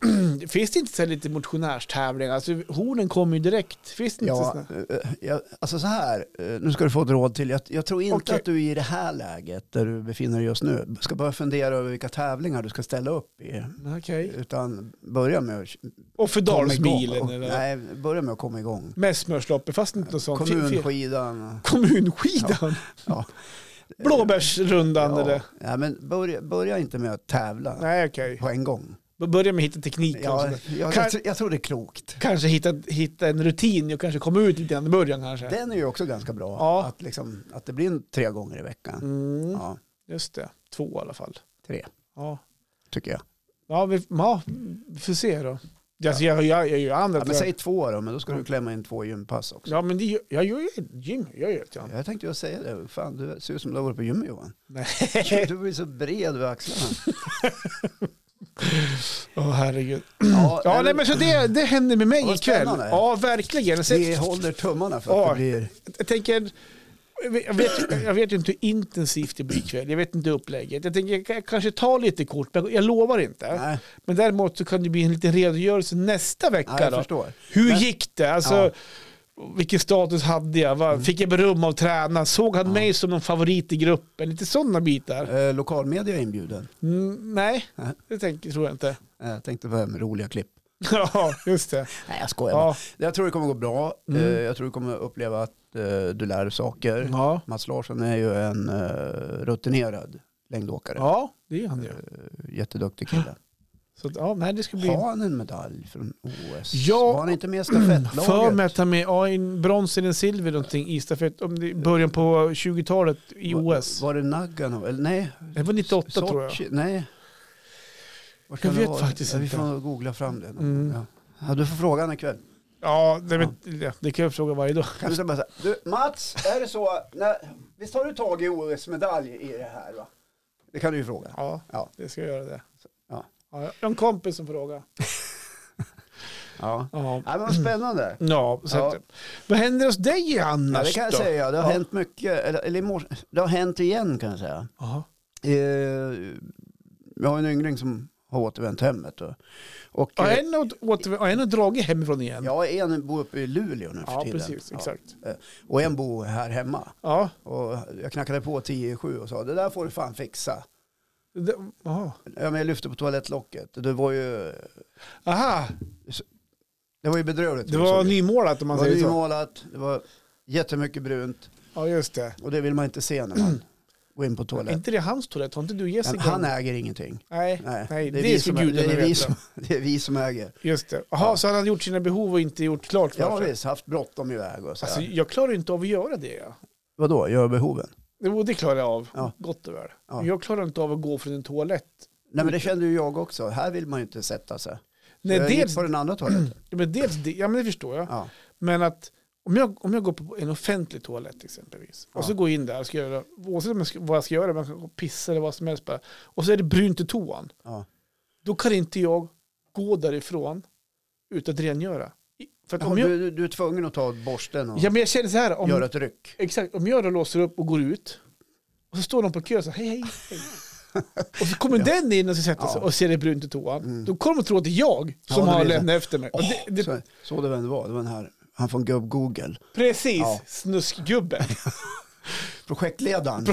S2: finns det inte så här lite motionärstävlingar? Alltså, hornen kommer ju direkt. Finns det inte så
S1: Ja,
S2: här?
S1: eh, jag, alltså så här, eh, nu ska du få ett råd till. Jag, jag tror inte
S2: Okej.
S1: att du i det här läget, där du befinner dig just nu, ska börja fundera över vilka tävlingar du ska ställa upp i.
S2: Nej, Okej.
S1: Eh, Utan börja med att komma
S2: Och för
S1: igång.
S2: Dalsmilen?
S1: Och-
S2: eller?
S1: Nej, börja med att komma igång.
S2: Med smörsloppet, fast inte något sånt. Fin- fin-
S1: Kommunskidan.
S2: Kommunskidan?
S1: Ja.
S2: Blåbärsrundan
S1: Ja.
S2: eller?
S1: Nej, men börja, börja inte med att tävla
S2: Nej, okej.
S1: på en gång.
S2: Börja med att hitta tekniken. och
S1: Ja,
S2: sådär.
S1: jag,
S2: Kan-
S1: jag, tror- jag tror det är klokt.
S2: Kanske hitta, hitta en rutin och kanske komma ut lite grann i början kanske.
S1: Den är ju också ganska bra,
S2: Ja.
S1: att, liksom, att det blir en tre gånger i veckan.
S2: Mm,
S1: Ja,
S2: Just det, två i alla fall.
S1: tre,
S2: Ja,
S1: tycker jag.
S2: ja, vi, ja vi får se då. Alltså, jag, jag, jag gör andra
S1: Ja, men säg två då, men då ska
S2: Ja.
S1: du klämma in två gympass också.
S2: ja, men det, gör- jag gör ju gym. Jag gör det.
S1: Jag tänkte ju säga det, fan du ser ut som du har varit på gym Johan.
S2: Nej.
S1: Du blir så bred över axlarna.
S2: Åh herregud.
S1: Ja,
S2: Ja,
S1: nej,
S2: nej, men så det, det händer med mig
S1: Vad
S2: ikväll.
S1: spännande.
S2: Ja, verkligen. Så,
S1: Vi håller tummarna för att
S2: Ja.
S1: det blir...
S2: jag tänker, jag vet, jag vet ju inte hur intensivt det blir ikväll. Jag vet inte upplägget. Jag tänker jag kan- jag kanske tar lite kort, men jag lovar inte.
S1: Nej,
S2: Men däremot så kan det bli en liten redogörelse nästa vecka.
S1: nej jag
S2: då.
S1: förstår.
S2: Hur
S1: Men-
S2: gick det? Alltså,
S1: Ja. Mm.
S2: Vilken status hade jag? Vad- Fick jag beröm av tränaren? Såg han mig som någon favorit i gruppen? Lite sådana bitar.
S1: Eh, lokalmedia är inbjuden.
S2: Mm, nej,
S1: Nej.
S2: det tänker, tror jag inte.
S1: Eh, Jag tänkte på det här med roliga klipp.
S2: ja, just det.
S1: Nej, jag skojar bara.
S2: Ja.
S1: Jag tror det kommer gå bra.
S2: Mm.
S1: Eh, Jag tror du kommer uppleva att eh, du lär dig saker.
S2: Ja.
S1: Mats Larsson är ju en eh, rutinerad längdåkare.
S2: ja, det är han ju.
S1: Eh, Jätteduktig kille.
S2: Så, att, ja, nej, det ska bli...
S1: Har han en medalj från OS?
S2: Ja.
S1: Var han inte med i
S2: För mig
S1: stafettlaget?
S2: att ta med ja, en brons eller en silver någonting i stafett, om det är början på 20-talet i OS.
S1: Var det Nagano? Eller nej?
S2: Det var 98 tror jag.
S1: Sochi? Nej. Vart
S2: Jag
S1: kan det
S2: vet
S1: vara?
S2: faktiskt
S1: ja, Vi
S2: inte.
S1: får googla fram det. någon
S2: Mm.
S1: gång, Ja. Ja, du får fråga honom ikväll.
S2: Ja, det, men, ja, det kan jag fråga varje dag.
S1: Kan du bara säga, du Mats, är det så, när, visst har du tagit OS-medalj i det här va? Det kan du ju fråga.
S2: Ja,
S1: Ja.
S2: det ska jag göra det.
S1: Ja.
S2: Ja, jag har en kompis som frågar.
S1: Ja.
S2: Ja.
S1: Ja, men vad spännande.
S2: Ja, så att, Vad händer hos dig annars
S1: Ja, det kan jag
S2: då?
S1: säga. Det har
S2: Ja.
S1: hänt mycket. Eller, eller i morse, det har hänt igen kan jag säga.
S2: Ja.
S1: Eh, jag har en yngling som har återvänt hemmet. Och, och,
S2: Och
S1: eh,
S2: en har åter- och en har dragit hemifrån igen.
S1: ja, en bor uppe i Luleå nu för
S2: Ja,
S1: tiden.
S2: precis.
S1: Ja.
S2: Exakt.
S1: Eh, Och en bor här hemma.
S2: Ja.
S1: Och jag knackade på 10 i sju och sa det där får du fan fixa.
S2: Det, aha.
S1: Ja, men jag lyfte på toalettlocket. Det var ju,
S2: aha,
S1: det var ju bedrövligt.
S2: det var nymålat om
S1: det
S2: man
S1: var
S2: säger så.
S1: nymålat, det var jättemycket brunt.
S2: Ja, just det.
S1: Och det vill man inte se när man går in på
S2: Är
S1: toaletten.
S2: inte det hans toalett? Har inte du Jessica?
S1: Han äger ingenting.
S2: Nej, nej, det, är
S1: vi
S2: för
S1: som,
S2: gudarna
S1: det, är vi
S2: vet
S1: som, det är vi som äger.
S2: Just det. Jaha,
S1: Ja.
S2: så han hade gjort sina behov och inte gjort klart för
S1: Jag har
S2: sig.
S1: visst haft bråttom iväg och så.
S2: Alltså,
S1: här.
S2: jag klarar inte av att göra det. Ja.
S1: Vadå, gör behoven?
S2: Jo, det klarar jag av.
S1: Ja.
S2: Gott och väl.
S1: Ja.
S2: Jag klarar inte av att gå från en toalett.
S1: Nej men det kände ju jag också. Här vill man ju inte sätta sig.
S2: Nej,
S1: jag
S2: dels,
S1: gick på den andra toaletten.
S2: ja, men dels det, ja, men det förstår jag.
S1: Ja.
S2: Men att om jag, om jag går på en offentlig toalett exempelvis och så
S1: Ja.
S2: går jag in där och ska göra, oavsett om jag ska, vad jag ska göra, man kan gå och pissa eller vad som helst bara, och så är det brunt i toan,
S1: Ja.
S2: då kan inte jag gå därifrån utan att rengöra. I- För att
S1: Ja,
S2: om jag,
S1: du, du är tvungen att ta borsten och
S2: ja, men jag känner så här, om,
S1: göra ett ryck.
S2: Exakt, om jag då låser upp och går ut och så står de på kö så här, hej hej. hej. och så kommer den in och ska sätta sig
S1: Ja.
S2: och ser det brunt i toan.
S1: Mm.
S2: Då kommer de tro att det är jag
S1: Ja,
S2: som
S1: det
S2: har
S1: blir det.
S2: lämnat efter mig. Och det, det,
S1: Så, såg du vem det var? Det var den här, han från Gubb Google.
S2: precis,
S1: Ja.
S2: snuskgubben.
S1: Projektledaren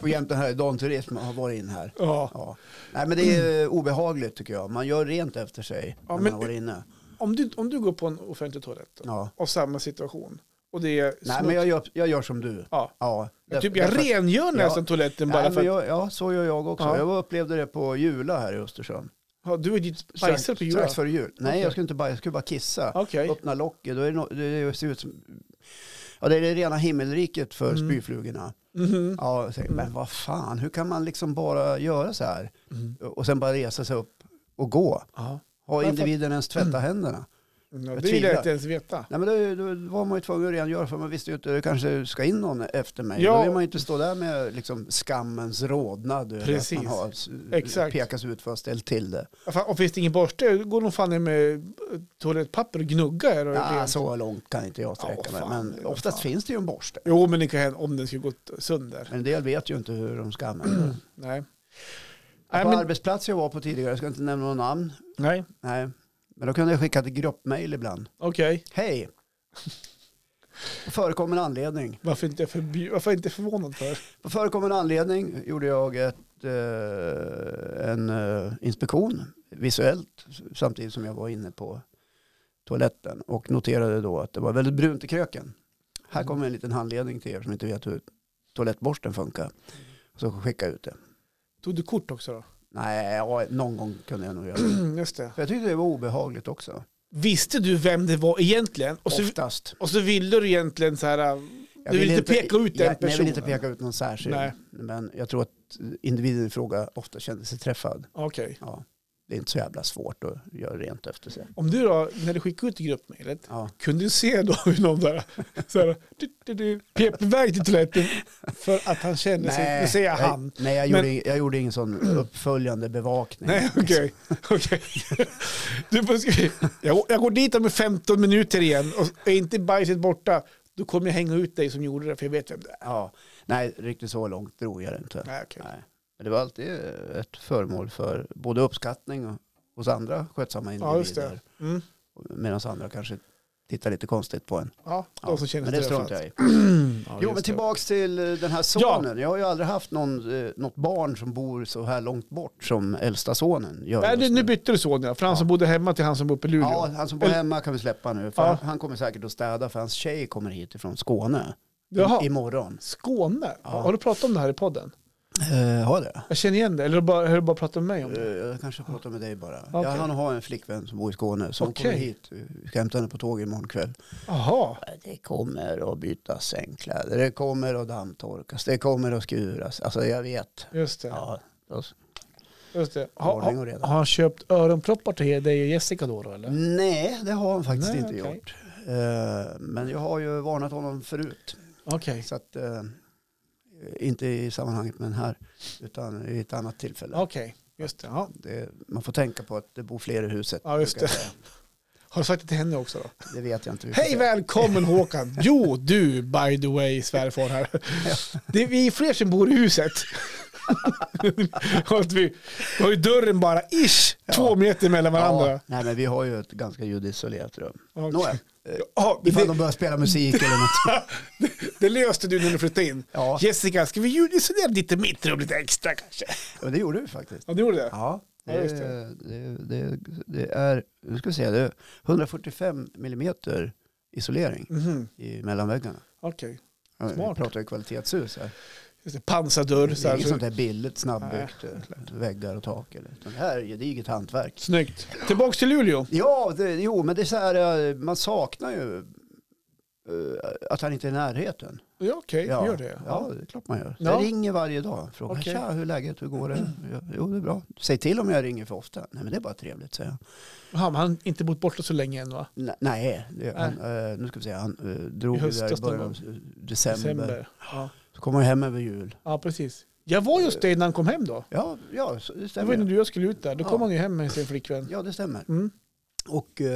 S1: på Jämtland här, Dan Turism har varit in här.
S2: ja.
S1: Ja. Nej men det är eh, obehagligt tycker jag. Man gör rent efter sig när
S2: men-
S1: man har varit inne.
S2: om, du, om du går på en offentlig toalett då,
S1: Ja.
S2: och samma situation och det är
S1: Nej
S2: smuts-
S1: men jag gör, jag gör som du.
S2: ja.
S1: Ja,
S2: jag, typ,
S1: därför-
S2: jag
S1: därför-
S2: rengör nästan toaletten bara
S1: Nej,
S2: för
S1: men
S2: att
S1: jag, ja, så gör jag också.
S2: Ja.
S1: Jag upplevde det på Jula här i Östersund.
S2: ja, du är ditt
S1: Strax-
S2: bajsare på julen.
S1: Strax före jul. Nej,
S2: Okej.
S1: jag skulle inte bajsa, jag skulle bara kissa.
S2: Okej,
S1: Öppna locket, då är det, no, det ser ut som... Ja, det är det rena himmelriket för
S2: Mm.
S1: spyflugorna.
S2: Mhm.
S1: Ja, jag säger,
S2: Mm.
S1: men vad fan, hur kan man liksom bara göra så här?
S2: Mm.
S1: Och sen bara resa sig upp och gå.
S2: ja.
S1: Har
S2: Varför?
S1: individen ens tvättat händerna?
S2: Ja,
S1: Jag
S2: det vill jag
S1: tvivlar.
S2: inte ens veta.
S1: Nej, men då, då var man ju tvungen att rengöra för man visste ju inte, det kanske ska in någon efter mig.
S2: Ja.
S1: Då vill man ju inte stå där med liksom skammens rodnad över
S2: Precis.
S1: att man har s-
S2: Exakt.
S1: pekas ut för att ha ställt till det.
S2: Ja, fan, Och finns det ingen borste, då går de fan ner med eh, toalettpapper och gnuggar. er Och
S1: Ja,
S2: rent.
S1: Ah, så långt kan inte jag sträcka
S2: Ja,
S1: mig,
S2: fan,
S1: men
S2: vad
S1: oftast
S2: fan.
S1: finns det ju en borste.
S2: Jo, men det kan hända om den skulle gått sönder.
S1: Men en del vet ju inte hur de ska använda den.
S2: Nej.
S1: På
S2: Nej, men,
S1: arbetsplats jag var på tidigare, jag ska inte nämna några namn,
S2: nej,
S1: nej. men då kunde jag skicka ett gruppmail ibland.
S2: okej.
S1: Hej! På förekommen anledning.
S2: Varför inte, förbjud, varför inte förvånad för?
S1: På förekommen anledning gjorde jag ett, eh, en eh, inspektion visuellt samtidigt som jag var inne på toaletten och noterade då att det var väldigt brunt i kröken. Här kommer en liten handledning till er som inte vet hur toalettborsten funkar. Så skicka ut det.
S2: Tog du kort också då?
S1: Nej, ja, någon gång kunde jag nog göra det.
S2: Just det.
S1: För Jag tyckte det var obehagligt också.
S2: Visste du vem det var egentligen? Och så,
S1: Oftast.
S2: och så ville du egentligen så här... äh,
S1: Jag
S2: du vill inte peka ut den
S1: jag, nej, Jag vill inte
S2: personen.
S1: peka ut någon särskild.
S2: Nej.
S1: Men jag tror att individen i fråga ofta kände sig träffad.
S2: Okej.
S1: Ja, det är inte så jävla svårt att göra rent efter sig.
S2: Om du då, när du skickade ut gruppmejlet,
S1: Ja.
S2: kunde du se då hur någon där, så här, du, du, du, pep iväg till toaletten för att han kände sig, nu säger jag han.
S1: Jag, nej, jag,
S2: Men-
S1: gjorde, jag gjorde ingen sån uppföljande bevakning.
S2: Nej, okej. okej. Du får skriva, jag, jag går dit om 15 minuter igen och är inte bajset borta, då kommer jag hänga ut dig som gjorde det, för jag vet vem det är.
S1: Ja, nej, riktigt så långt drog jag det inte.
S2: Nej, okej.
S1: Nej. Men det var alltid ett föremål för både uppskattning och- hos andra skötsamma
S2: Ja, just
S1: individer.
S2: det. Mm.
S1: Medan andra kanske tittar lite konstigt på en.
S2: Ja, de som känner
S1: men
S2: sig
S1: det struntar jag i.
S2: Mm, Ja,
S1: Jo,
S2: just
S1: men
S2: det.
S1: tillbaks till eh, den här sonen. Jag har ju aldrig haft någon, eh, något barn som bor så här långt bort som äldsta sonen gör
S2: Nej, nu,
S1: just
S2: nu bytte du son, ja. Från han som bodde hemma till han som bor uppe i Luleå.
S1: Ja, han som bor hemma kan vi släppa nu. För
S2: Ja.
S1: han, han kommer säkert att städa för hans tjej kommer hit ifrån Skåne
S2: Jaha.
S1: i, imorgon.
S2: Skåne?
S1: Ja.
S2: Har du pratat om det här i podden?
S1: Uh, har det?
S2: Jag känner igen det, eller har du bara, har du bara pratat med mig om det?
S1: Eh, Jag kanske pratar med dig bara.
S2: Okej.
S1: Ja, han har en flickvän som bor i Skåne som
S2: Okej.
S1: kommer hit. Vi ska hämta henne på tåget imorgon kväll.
S2: Jaha,
S1: Det kommer att bytas sängkläder, det kommer att dammtorkas, det kommer att skuras. Alltså jag vet.
S2: just det.
S1: Ja, då-
S2: Just det. Har,
S1: Ordning och
S2: har,
S1: reda. Mm.
S2: har han köpt öronproppar till dig och Jessica då, då eller?
S1: Nej, det har han faktiskt
S2: Nej,
S1: inte
S2: okej.
S1: gjort. Eh, Men jag har ju varnat honom förut.
S2: Okej.
S1: Så att, eh, inte i sammanhanget med den här, utan i ett annat tillfälle.
S2: Okej. Just det, ja.
S1: Det, man får tänka på att det bor fler i huset.
S2: Ja, just
S1: brukar jag säga.
S2: Har du sagt det till henne också då?
S1: Det vet jag inte. Vi får
S2: Hej
S1: se.
S2: välkommen Håkan! Jo, du by the way svärfar här. Det är vi fler som bor i huset. Och att vi vi har ju dörren bara ish, två meter mellan varandra.
S1: Ja, nej, men vi har ju ett ganska ljudisolerat rum.
S2: Okej.
S1: Nåja, eh,
S2: Ja,
S1: ifall
S2: det,
S1: de börjar spela musik eller något.
S2: det löste du när du flyttade in.
S1: Ja,
S2: Jessica, ska vi ljudisolera lite mitt rum lite extra kanske?
S1: och det gjorde vi faktiskt.
S2: Ja, du gjorde det?
S1: Ja, det,
S2: Ja, just
S1: är- det, det, det är, nu ska vi se, det är 145 millimeter isolering
S2: Mhm,
S1: i mellanväggarna.
S2: Okej.
S1: Ja, Vi
S2: Smart.
S1: pratar ju kvalitetshus här.
S2: Just det, Pansardörr.
S1: Det
S2: Så
S1: är
S2: här,
S1: inget
S2: så.
S1: sånt där billigt snabbbyggt eh, väggar och tak. Eller. utan Det här är gediget hantverk.
S2: Snyggt. Tillbaks till Luleå.
S1: Ja, det, jo, men det är så här, eh, man saknar ju eh, att han inte är i närheten.
S2: Ja, Okej,
S1: ja.
S2: gör det.
S1: Ja, det är klart man gör.
S2: Ja.
S1: Jag ringer varje dag. Frågar,
S2: Okej.
S1: tja, hur är läget, hur går det? Ja, Jo, det är bra. Säg till om jag ringer för ofta. Nej, men det är bara trevligt, säger jag.
S2: Han har inte bott borta så länge än va?
S1: "N- Nej, det, han, eh, nu ska vi se, han eh, drog
S2: I
S1: ju där i
S2: höstas någon
S1: början av december.
S2: Ja.
S1: Så kom han hem över jul.
S2: ja, precis. Jag var just det när han kom hem då.
S1: Ja, ja så, det
S2: Det var ju
S1: stämmer.
S2: när du och jag skulle ut där. Då kom
S1: Ja.
S2: han ju hem med sin flickvän.
S1: Ja, det stämmer.
S2: Mm.
S1: Och eh,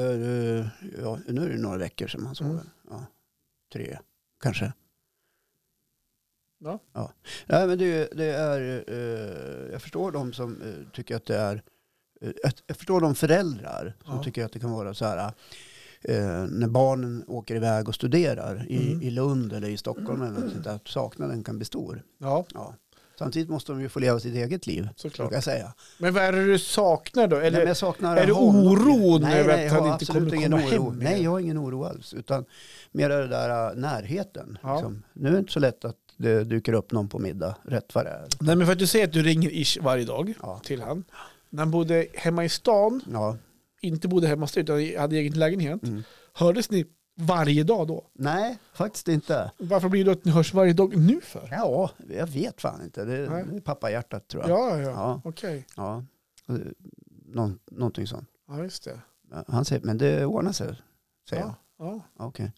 S1: ja, nu är det några veckor sedan han sover.
S2: Mm.
S1: Ja, tre kanske.
S2: Ja.
S1: ja. Nej, men det, det är, eh, jag förstår de som eh, tycker att det är, eh, jag- jag förstår de föräldrar som
S2: Ja.
S1: tycker att det kan vara så här, eh, när barnen åker iväg och studerar i,
S2: Mm.
S1: i Lund eller i Stockholm eller något sånt där, att saknaden kan bli stor.
S2: Ja,
S1: Ja. Samtidigt måste de ju få leva sitt eget liv,
S2: såklart.
S1: brukar jag säga.
S2: Men vad är det du saknar då?
S1: Nej,
S2: Eller,
S1: men jag saknar
S2: är det
S1: honom.
S2: oron
S1: nej,
S2: över
S1: nej,
S2: att
S1: jag
S2: han
S1: har
S2: inte
S1: absolut
S2: kommer
S1: ingen
S2: komma hem
S1: oro.
S2: igen?
S1: Nej, jag har ingen oro alls. Utan mer det där äh, närheten.
S2: Ja.
S1: Liksom. Nu är det inte så lätt att det dyker upp någon på middag rätt vad det är.
S2: Nej, men för att du säger att du ringer ish varje dag
S1: Ja.
S2: till han. När han bodde hemma i stan,
S1: Ja.
S2: inte bodde hemma i stan utan hade egen lägenhet,
S1: Mm.
S2: hördes ni varje dag då?
S1: Nej, faktiskt inte.
S2: Varför blir det då att ni hörs varje dag nu för?
S1: Ja, jag vet fan inte. Det,
S2: Nej.
S1: det är pappahjärtat tror
S2: Ja,
S1: jag.
S2: ja, ja.
S1: Ja.
S2: okej.
S1: ja. Eh, Någon, någonting sånt.
S2: Ja, just det.
S1: Ja, Han säger, men det ordnar sig, säger
S2: Ja, ja,
S1: jag. Okej.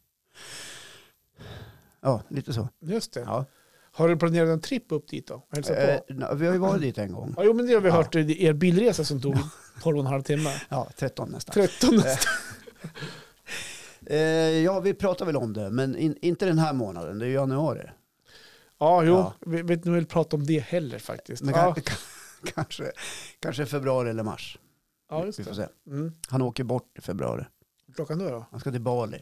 S1: Ja, lite så.
S2: just det.
S1: Ja.
S2: Har du planerat en tripp upp dit då? Och Hälsa på?
S1: Eh, na- vi har ju varit dit en gång.
S2: Ja, jo, men det har vi
S1: Ja.
S2: hört i er bilresa som tog 12 och en halv timme.
S1: Ja, 13 nästan.
S2: 13 nästan.
S1: Eh, ja, vi pratar väl om det, men in, inte den här månaden, det är ju januari.
S2: Ja, jo,
S1: Ja.
S2: vi vet inte om vi vill prata om det heller faktiskt.
S1: Men
S2: Ja,
S1: kan, kanske, kanske februari eller mars.
S2: ja, just
S1: vi får
S2: det.
S1: se.
S2: Mm.
S1: Han åker bort i februari.
S2: Klockan då då?
S1: Han ska till Bali.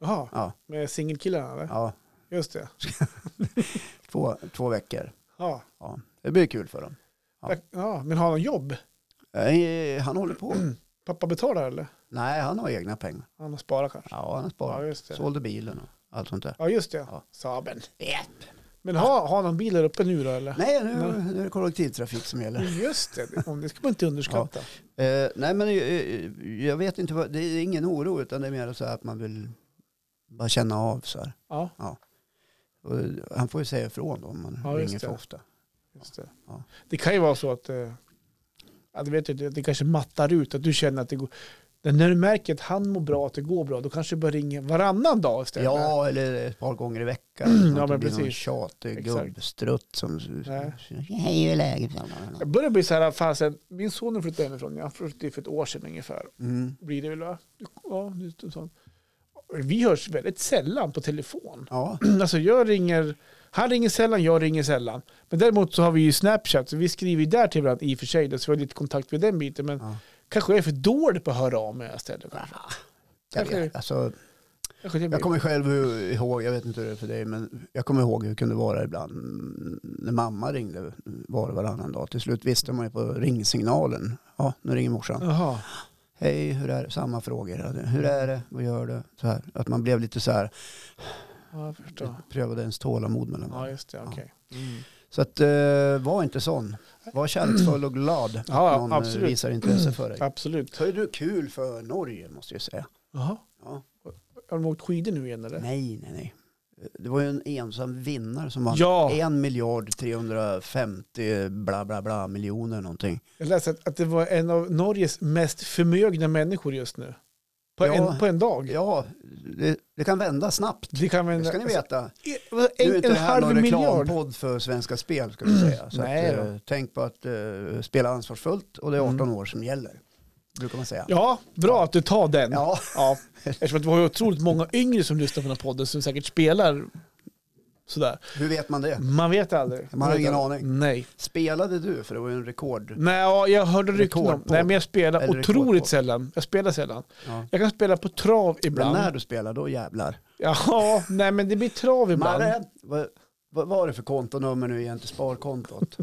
S2: Jaha,
S1: Ja,
S2: med singelkillarna eller?
S1: ja
S2: Just det.
S1: två, två veckor.
S2: Ja.
S1: Ja, det blir kul för dem. Ja.
S2: ja, men har han jobb?
S1: Eh, han håller på.
S2: Pappa betalar eller?
S1: Nej, han har egna pengar.
S2: Han har sparat kanske?
S1: Ja, han har
S2: Ja,
S1: sparat.
S2: just det.
S1: Sålde bilen och allt sånt där.
S2: Ja, just det.
S1: Ja.
S2: Saben.
S1: Japp.
S2: Men har, har han bil där uppe nu då eller?
S1: Nej, nu, nu är det kollektivtrafik som gäller.
S2: Just det, Om det ska man inte underskatta.
S1: Eh, nej, men eh, jag vet inte. Vad, det är ingen oro, utan det är mer så här att man vill bara känna av så här.
S2: Ja,
S1: Och han får ju säga ifrån då om man
S2: Ja, just
S1: ringer för
S2: det.
S1: ofta.
S2: just det.
S1: Ja.
S2: Det kan ju vara så att eh, ja, du vet, ju, det, det kanske mattar ut, att du känner att det går... Men när du märker att han mår bra, att det går bra, då kanske du börjar ringa varannan dag istället.
S1: Ja, eller ett par gånger i veckan. så att
S2: ja,
S1: det
S2: men
S1: blir någon
S2: precis.
S1: tjatig
S2: Exakt.
S1: gubbstrutt som...
S2: Nej.
S1: Hej, hur är läget?
S2: Jag börjar bli så här, fan, så här, min son har flyttat hemifrån, han flyttade för ett år sedan ungefär.
S1: Mm.
S2: Blir det väl va? Ja, just en sån. Vi hörs väldigt sällan på telefon.
S1: Ja,
S2: Alltså jag ringer, han ringer sällan, jag ringer sällan. Men däremot så har vi ju Snapchat, så vi skriver ju där till varandra i och för sig, då, så vi har lite kontakt med den biten. Men
S1: Ja.
S2: kanske jag är för dålig på att höra av mig istället. Kanske.
S1: jag,
S2: Kanske-
S1: vet. Alltså,
S2: Kanske det blir-
S1: jag kommer själv ihåg, jag vet inte hur det är för dig, men jag kommer ihåg hur det kunde vara ibland när mamma ringde var och varannan dag. Till slut visste man ju på ringsignalen. Ja, nu ringer morsan.
S2: Jaha,
S1: Hej, hur är det? Samma frågor. Hur är det? Vad gör du? Så här. Att man blev lite så här,
S2: ja, jag förstår.
S1: prövade ens tålamod mellan varandra.
S2: Ja, just det, okej. Mm.
S1: Så att, eh, var inte sån. Var kärleksfull och glad att
S2: Ja, ja,
S1: någon
S2: absolut.
S1: eh, visar intresse för dig.
S2: Absolut.
S1: Så är du kul för Norge måste jag säga.
S2: Jaha.
S1: Ja.
S2: Har de åkt skidor nu igen eller?
S1: Nej, nej, nej. Det var ju en ensam vinnare som vann
S2: Ja,
S1: 1 miljard 350 bla bla bla miljoner någonting.
S2: jag läste att, att det var en av Norges mest förmögna människor just nu. På,
S1: Ja.
S2: en, på en dag?
S1: Ja, det, det kan vända snabbt.
S2: Det kan vi,
S1: Det ska ni veta. Nu är
S2: En,
S1: inte
S2: en
S1: det här
S2: halv
S1: någon
S2: miljard.
S1: reklampodd för Svenska Spel ska vi säga. Så
S2: Nej
S1: att, eh, tänk på att eh, spela ansvarsfullt och det är 18
S2: Mm.
S1: år som gäller. Brukar man säga.
S2: Ja, bra att du tar den.
S1: Ja,
S2: Ja, eftersom att vi har ju otroligt många yngre som lyssnar på den här podden som säkert spelar sådär.
S1: hur vet man det?
S2: Man vet aldrig.
S1: Man har
S2: vet
S1: ingen
S2: aldrig.
S1: aning.
S2: Nej.
S1: Spelade du? För det var ju en rekord.
S2: Nej, ja, jag hörde rykten om.
S1: Rekordpodd.
S2: Nej, men jag spelar
S1: Eller
S2: otroligt
S1: rekordpodd.
S2: sällan. Jag spelar sällan.
S1: Ja.
S2: Jag kan spela på trav
S1: Men
S2: ibland.
S1: när du spelar, då jävlar.
S2: Ja, nej men det blir trav ibland.
S1: Marre, vad, vad var det för kontonummer nu igen till sparkontot?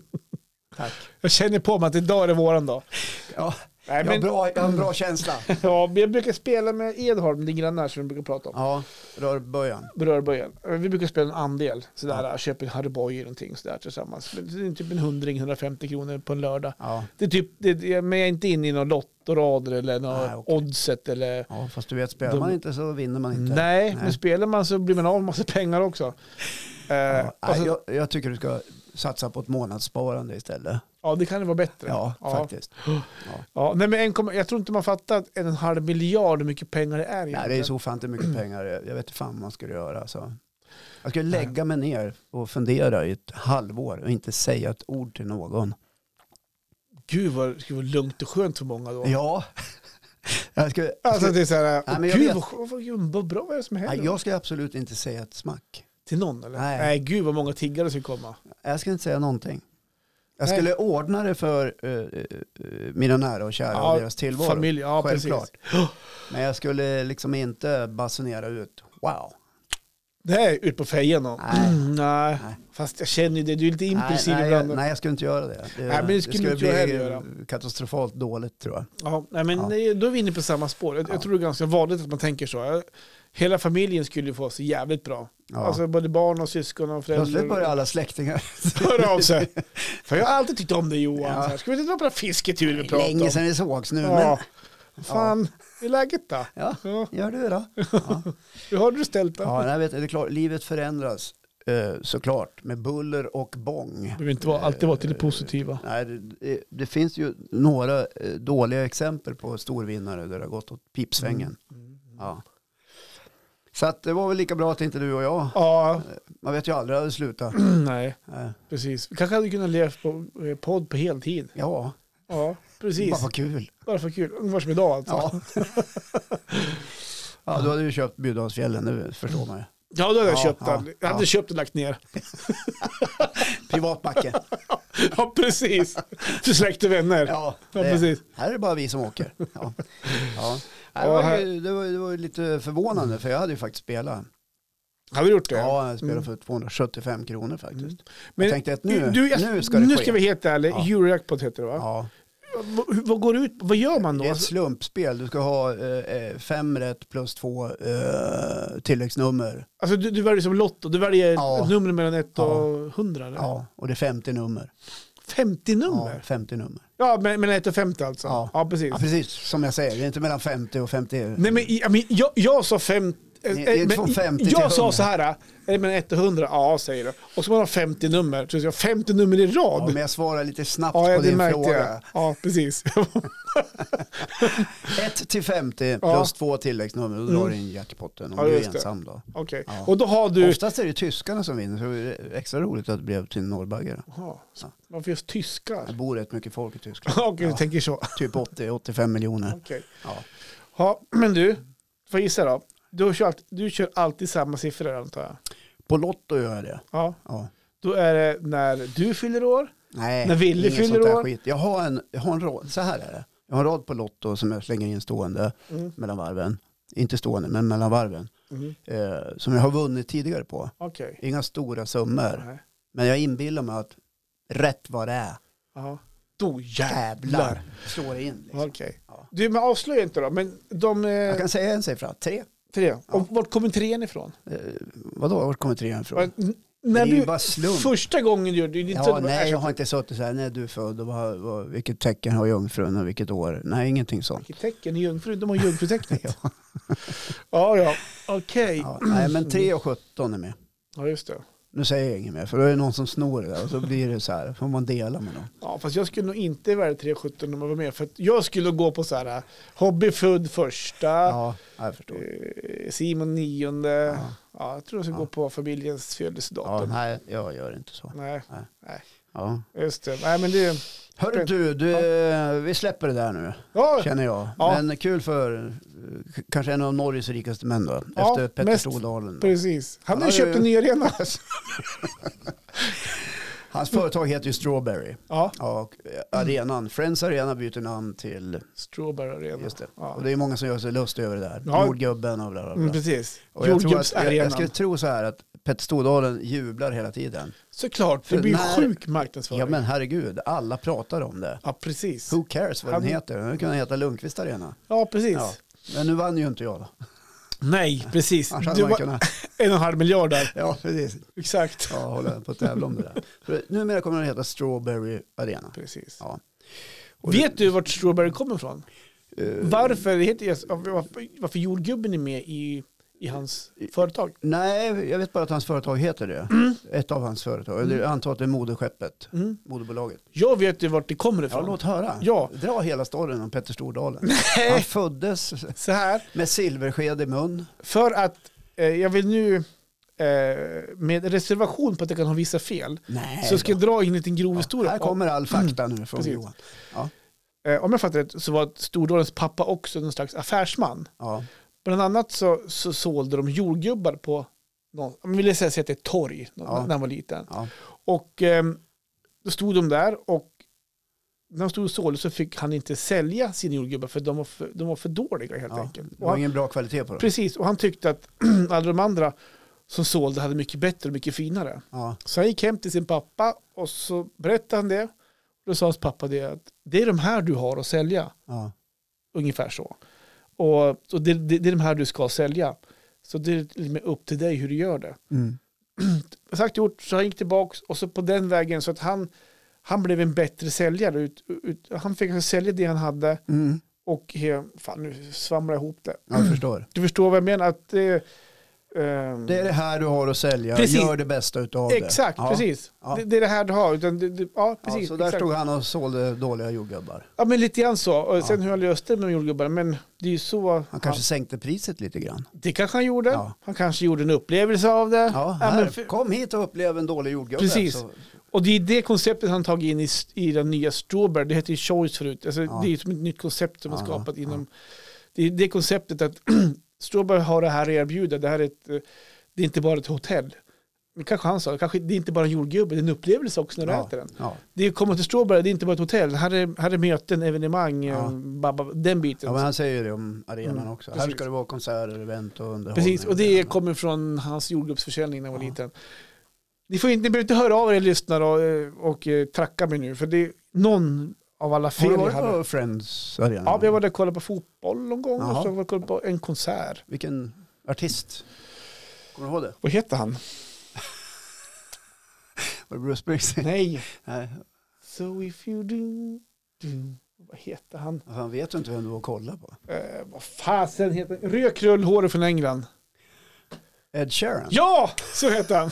S1: Tack.
S2: Jag känner på mig att idag är det våran dag.
S1: Ja,
S2: Nej,
S1: jag, har
S2: men, ja,
S1: bra, jag har en bra känsla.
S2: men jag brukar spela med Edholm, din granne som vi brukar prata om.
S1: Ja, rörböjan.
S2: Berörböjen. Vi brukar spela en andel, sådär, köper Harry Boy eller någonting sådär tillsammans. Men det är typ en hundring, 150 kronor på en lördag.
S1: Ja.
S2: Det är typ, det, det- men jag är inte inne i någon lottorader eller någon
S1: Nej, okej.
S2: oddset eller...
S1: ja, fast du vet, spelar man inte så vinner man inte.
S2: Nej, men spelar man så blir man av med massa pengar också. Eh,
S1: Ja,
S2: och så,
S1: nej,
S2: ja.
S1: jag, jag tycker du ska satsa på ett månadssparande istället.
S2: det kan ju vara bättre.
S1: Ja, faktiskt.
S2: Ja, nej, men en, komma- jag tror inte man fattar att en och en halv miljard hur mycket pengar det är.
S1: Nej, det är så ofantligt mycket pengar. Jag vet inte fan vad man skulle göra. Så. Jag skulle lägga mig ner och fundera i ett halvår och inte säga ett ord till någon.
S2: Gud vad det skulle vara lugnt och skönt för många då.
S1: Ja, jag skulle,
S2: Alltså det är så här,
S1: Nej,
S2: nej,
S1: men jag
S2: gud
S1: vet-
S2: vad, skönt, vad, gud, vad bra vad är det som händer?
S1: nej, jag skulle absolut inte säga ett smack.
S2: Till någon eller?
S1: Nej.
S2: Nej. gud vad många tiggare skulle komma.
S1: Jag skulle inte säga någonting. Jag
S2: Nej.
S1: skulle ordna det för eh, eh, mina nära och kära och
S2: Ja,
S1: deras tillvaro.
S2: Familj, ja
S1: Självklart.
S2: precis. Ja.
S1: Men jag skulle liksom inte basunera ut, wow.
S2: Nej, ut på fejan då.
S1: Nej.
S2: Mm, nej.
S1: Nej.
S2: Fast jag känner ju det, du är lite impulsiv
S1: nej,
S2: ibland.
S1: jag, nej, jag skulle inte göra det. Det,
S2: Nej, men det skulle inte jag
S1: bli
S2: heller göra.
S1: katastrofalt dåligt tror jag.
S2: Ja, nej, men
S1: Ja.
S2: nej, då är vi inne på samma spår. Jag,
S1: Ja.
S2: jag tror det är ganska vanligt att man tänker så. Jag- Hela familjen skulle ju få sig jävligt bra.
S1: Ja.
S2: Alltså både barn och syskon och föräldrar.
S1: Plötsligt börjar alla släktingar.
S2: höra av sig. För jag har alltid tyckt om dig Johan.
S1: Ja.
S2: Så här, Ska vi inte dra på den här fisketuren vi pratade om?
S1: Länge sedan vi sågs nu,
S2: Ja. Fan, hur är läget då?
S1: men
S2: Ja.
S1: ja, gör du då? Ja,
S2: Hur har du ställt det?
S1: ja nej, vet, du, det är klart, livet förändras eh, såklart med buller och bång.
S2: Det behöver inte vara, alltid vara till det positiva.
S1: Nej, det, det finns ju några eh, dåliga exempel på storvinnare där det har gått åt pipsvängen.
S2: Mm.
S1: Ja. Så att det var väl lika bra att inte du och jag,
S2: Ja,
S1: man vet ju aldrig hur det slutar. Eh,
S2: nej,
S1: Nej.
S2: precis. Vi kanske hade kunnat leva på eh, podd på heltid.
S1: Ja,
S2: Ja,
S1: bara
S2: precis.
S1: vad kul.
S2: Bara för kul. Ungefär som idag alltså. Ja,
S1: Ja. ja, då hade du köpt Bjudalsfjällen, det förstår man ju.
S2: då hade jag
S1: Ja,
S2: köpt
S1: ja,
S2: den. Jag hade
S1: ja.
S2: köpt och lagt ner.
S1: Privatbacke.
S2: Ja, precis. För släkt och vänner. Ja,
S1: Ja, det,
S2: precis.
S1: här är det bara vi som åker. Ja. Ja. Nej, Det,
S2: Ja,
S1: var
S2: här-
S1: ju, det, var, det var ju lite förvånande för jag hade ju faktiskt spelat.
S2: Hade du gjort det?
S1: Ja, jag spelade
S2: Mm.
S1: för 275 kronor faktiskt.
S2: Men
S1: jag tänkte att nu,
S2: Du, jag-
S1: nu ska det
S2: nu
S1: ske.
S2: ska vi heta ärlig.
S1: Ja.
S2: Eurojackpot heter det va?
S1: Ja.
S2: Vad, vad går det ut Vad gör man då?
S1: Det är ett slumpspel. Du ska ha eh, eh, fem rätt plus två eh, tilläggsnummer.
S2: Alltså du, du väljer som Lotto, du väljer
S1: Ja.
S2: ett nummer mellan 1
S1: Ja.
S2: och 100? Eller?
S1: Ja, och det är 50 nummer.
S2: 50
S1: Ja,
S2: nummer?
S1: 50 nummer.
S2: Ja, men, mellan 1 och 50 alltså?
S1: Ja.
S2: Ja, precis.
S1: Ja, precis som jag säger, det är inte mellan 50 och 50.
S2: Nej men, i- ja, men jag, jag sa eh, 50...
S1: Det- det är från 50 till
S2: jag
S1: 100.
S2: sa så här, är det mellan 1 och 100? Ja, säger du. Och så man har 50 nummer, så jag sa 50 nummer i
S1: ja,
S2: rad.
S1: men jag svarar lite snabbt
S2: Ja, ja
S1: på
S2: det
S1: din
S2: märkte
S1: fråga.
S2: jag. Ja, precis.
S1: 1 till 50
S2: Ja. Mm.
S1: plus två tilläggsnummer, då drar du in jackpotten om
S2: Ja,
S1: du är
S2: just det.
S1: ensam då.
S2: Okej.
S1: Ja.
S2: Och då har du...
S1: Oftast är det tyskarna som vinner, så det är extra roligt att det blev till norrbaggare.
S2: Jaha, så- Varför just tyskar?
S1: Det bor rätt mycket folk i Tyskland,
S2: Okej, du
S1: Ja.
S2: tänker så.
S1: typ 80-85 miljoner.
S2: Okej.
S1: Ja.
S2: Ja, men du, får jag gissa då? Du kör, alltid, du kör alltid samma siffror antar jag?
S1: På Lotto gör jag det.
S2: Ja.
S1: Ja.
S2: Då är det när du fyller år.
S1: Nej,
S2: När Wille
S1: ingen
S2: fyller
S1: sånt där
S2: år.
S1: Skit. Jag har en, jag har en rad, så här är det. Jag har en rad på Lotto som jag slänger in stående
S2: Mm.
S1: mellan varven. Inte stående, men mellan varven.
S2: Mm.
S1: Eh, som jag har vunnit tidigare på.
S2: Okej.
S1: Inga stora summor.
S2: Nej.
S1: Men jag inbillar mig att rätt vad det är,
S2: Ja. Då jävlar.
S1: jävlar, slår det in. Liksom.
S2: Okej.
S1: Ja.
S2: Du, men avslöja inte då. Men de eh,
S1: Jag kan säga en siffra, tre.
S2: tre. Och vart kommer trean ifrån?
S1: Eh, vadå, vart kommer trean ifrån?
S2: Och n-
S1: Det är
S2: När
S1: ju
S2: du,
S1: bara slump.
S2: första gången du gjorde det, det, är inte så
S1: Ja,
S2: att du bara,
S1: nej,
S2: "Äsch,
S1: jag har inte suttit så här, när du är född och vad, vad, vilket tecken har jungfrun och vilket år? Nej, ingenting sånt.
S2: vilket tecken i jungfru, de har jungfrutecknet. ja. ja, ja, okej.
S1: Ja, nej, men 3 och 17 är med.
S2: Ja, just det.
S1: nu säger jag inget mer för då är det någon som snor det där och så blir det så här, får man dela med någon.
S2: Ja, fast jag skulle nog inte välja 317 om jag var med. För att jag skulle gå på så här Hobbyfood första,
S1: Ja, jag förstår.
S2: eh, Simon nionde. Ja.
S1: Ja.
S2: jag tror jag skulle
S1: Ja.
S2: gå på familjens
S1: Ja,
S2: födelsedatum.
S1: nej, jag gör inte så.
S2: nej,
S1: Ja.
S2: just det. Nej, men det...
S1: Hörru du, du eh, vi släpper det där nu,
S2: Ja,
S1: känner jag.
S2: Ja.
S1: Men kul för eh, k- kanske en av Norges rikaste män då,
S2: Ja,
S1: efter Petter
S2: mest-
S1: Stordalen.
S2: precis. Han
S1: Han
S2: har ju
S1: har
S2: köpt
S1: ju-
S2: en ny arena.
S1: Hans företag heter ju Strawberry.
S2: Ja,
S1: Ja, och eh, arenan, Friends Arena byter namn till,
S2: Strawberry Arena.
S1: just det.
S2: Ja.
S1: Och det är många som gör sig lustiga över det där.
S2: Ja.
S1: Jordgubben och bla bla bla.
S2: Mm, precis.
S1: Och jag, tror att, jag, jag skulle
S2: Jordgubbsarenan.
S1: tro så här att Petter Stordalen jublar hela tiden.
S2: Såklart, det
S1: För
S2: blir ju
S1: när-
S2: sjuk marknadsföring.
S1: Ja men herregud, alla pratar om det.
S2: Ja, precis.
S1: Who cares vad
S2: Han-
S1: den heter? Den kunde heta Lundqvist Arena.
S2: Ja, precis.
S1: Ja. Men nu vann ju inte jag då.
S2: Nej, precis.
S1: Annars hade
S2: Du
S1: man
S2: var
S1: kunnat...
S2: en och en halv miljard där.
S1: Ja, precis.
S2: Exakt.
S1: Ja, håller på att tävla om det där. För numera kommer den heta Strawberry Arena.
S2: Precis.
S1: Ja. Och
S2: Vet du vart Strawberry kommer ifrån?
S1: eh,
S2: Varför, heter jag, varför, varför jordgubben är med i, i hans företag?
S1: Nej, jag vet bara att hans företag heter det. Ett av hans företag. Eller Jag antar att det är moderskeppet,
S2: Mm.
S1: moderbolaget.
S2: Jag vet ju vart det kommer
S1: Ja,
S2: ifrån.
S1: låt höra.
S2: Ja.
S1: Dra hela storyn om Petter Stordalen. Han föddes
S2: Så här,
S1: med silversked i mun.
S2: för att eh, jag vill nu eh, med reservation på att jag kan ha vissa fel,
S1: Nej
S2: så
S1: då.
S2: ska jag dra in en liten grov
S1: ja,
S2: historia.
S1: Här kommer all fakta nu från
S2: Mm. Precis.
S1: Johan.
S2: Eh, om jag fattar rätt så var Stordalens pappa också någon slags affärsman.
S1: Ja.
S2: Bland annat så, så sålde de jordgubbar på någon, om vi vill säga att det är ett torg
S1: Ja.
S2: när han var liten.
S1: Ja.
S2: Och ehm, då stod de där och när de stod och sålde så fick han inte sälja sina jordgubbar för de var för, de var för dåliga helt
S1: Ja.
S2: enkelt.
S1: Det
S2: Och
S1: var
S2: han,
S1: ingen bra kvalitet på det.
S2: precis, och han tyckte att alla de andra som sålde hade mycket bättre och mycket finare.
S1: Ja.
S2: Så han gick hem till sin pappa och så berättade han det. Då sa hans pappa det att det är de här du har att sälja.
S1: Ja.
S2: Ungefär så. Och, och det, det, det är de här du ska sälja. Så det är liksom upp till dig hur du gör det.
S1: Mm.
S2: Sagt och gjort, så han gick tillbaka och så på den vägen så att han, han blev en bättre säljare. Ut, ut, han fick alltså sälja det han hade
S1: Mm.
S2: och he, fan nu svamlar jag ihop det.
S1: Ja, Jag förstår.
S2: Du förstår vad jag menar? Att, eh, ehm,
S1: Det är det här du har att sälja.
S2: Precis.
S1: Gör det bästa utav det.
S2: Exakt,
S1: Ja.
S2: precis.
S1: Ja.
S2: Det, det är det här du har. Utan det, det, ja,
S1: Ja,
S2: precis.
S1: så där
S2: exakt.
S1: stod han och sålde dåliga jordgubbar.
S2: ja, men lite grann så. Och sen
S1: Ja.
S2: hur han löste det med jordgubbarna. Men det är ju så.
S1: Han kanske sänkte priset lite grann.
S2: Det kanske han gjorde.
S1: Ja.
S2: Han kanske gjorde en upplevelse av det.
S1: Ja,
S2: Ja,
S1: här,
S2: men för-
S1: Kom hit och upplev en dålig jordgubbe.
S2: Precis.
S1: Så,
S2: Och det är det konceptet han tagit in i, i den nya Strawberry. Det hette ju Choice förut. Alltså,
S1: Ja.
S2: Det är som ett nytt koncept som har
S1: Ja,
S2: skapat
S1: ja.
S2: inom... Det är det konceptet att Strawberry har det här att erbjuda. Det här är ett... eh, Det är inte bara ett hotell. Men kanske han sa, kanske det är inte bara en jordgubbe, det är en upplevelse också när du
S1: ja,
S2: äter den.
S1: Ja.
S2: Det är komma till Strawberry, det är inte bara ett hotell. Här är, här är möten, evenemang,
S1: Ja.
S2: eh, babba, den biten.
S1: ja, men han säger ju det om arenan
S2: Mm,
S1: också. Här
S2: precis.
S1: ska det vara konserter, event och underhållning.
S2: Precis, och det kommer från hans jordgubbsförsäljning när jag var
S1: Ja.
S2: liten. Ni, får inte, ni behöver inte höra av er lyssnare och, eh, och eh, tracka mig nu, för det är någon av alla fel
S1: Har du
S2: jag
S1: varit
S2: hade.
S1: på Friends Arena?
S2: Ja, jag var där och kollade på fotboll någon gång och
S1: Jaha.
S2: så var jag kollade på en konsert.
S1: Vilken artist? Kommer du ihåg det?
S2: Vad heter han?
S1: Var det Bruce Springsteen?
S2: Nej.
S1: Nej.
S2: So if you do, do. Vad heter han?
S1: Han vet ju inte vem du var och kollade på.
S2: Eh, vad fasen heter han? Rökrullhåret från England.
S1: Ed Sheeran?
S2: Ja, så heter han.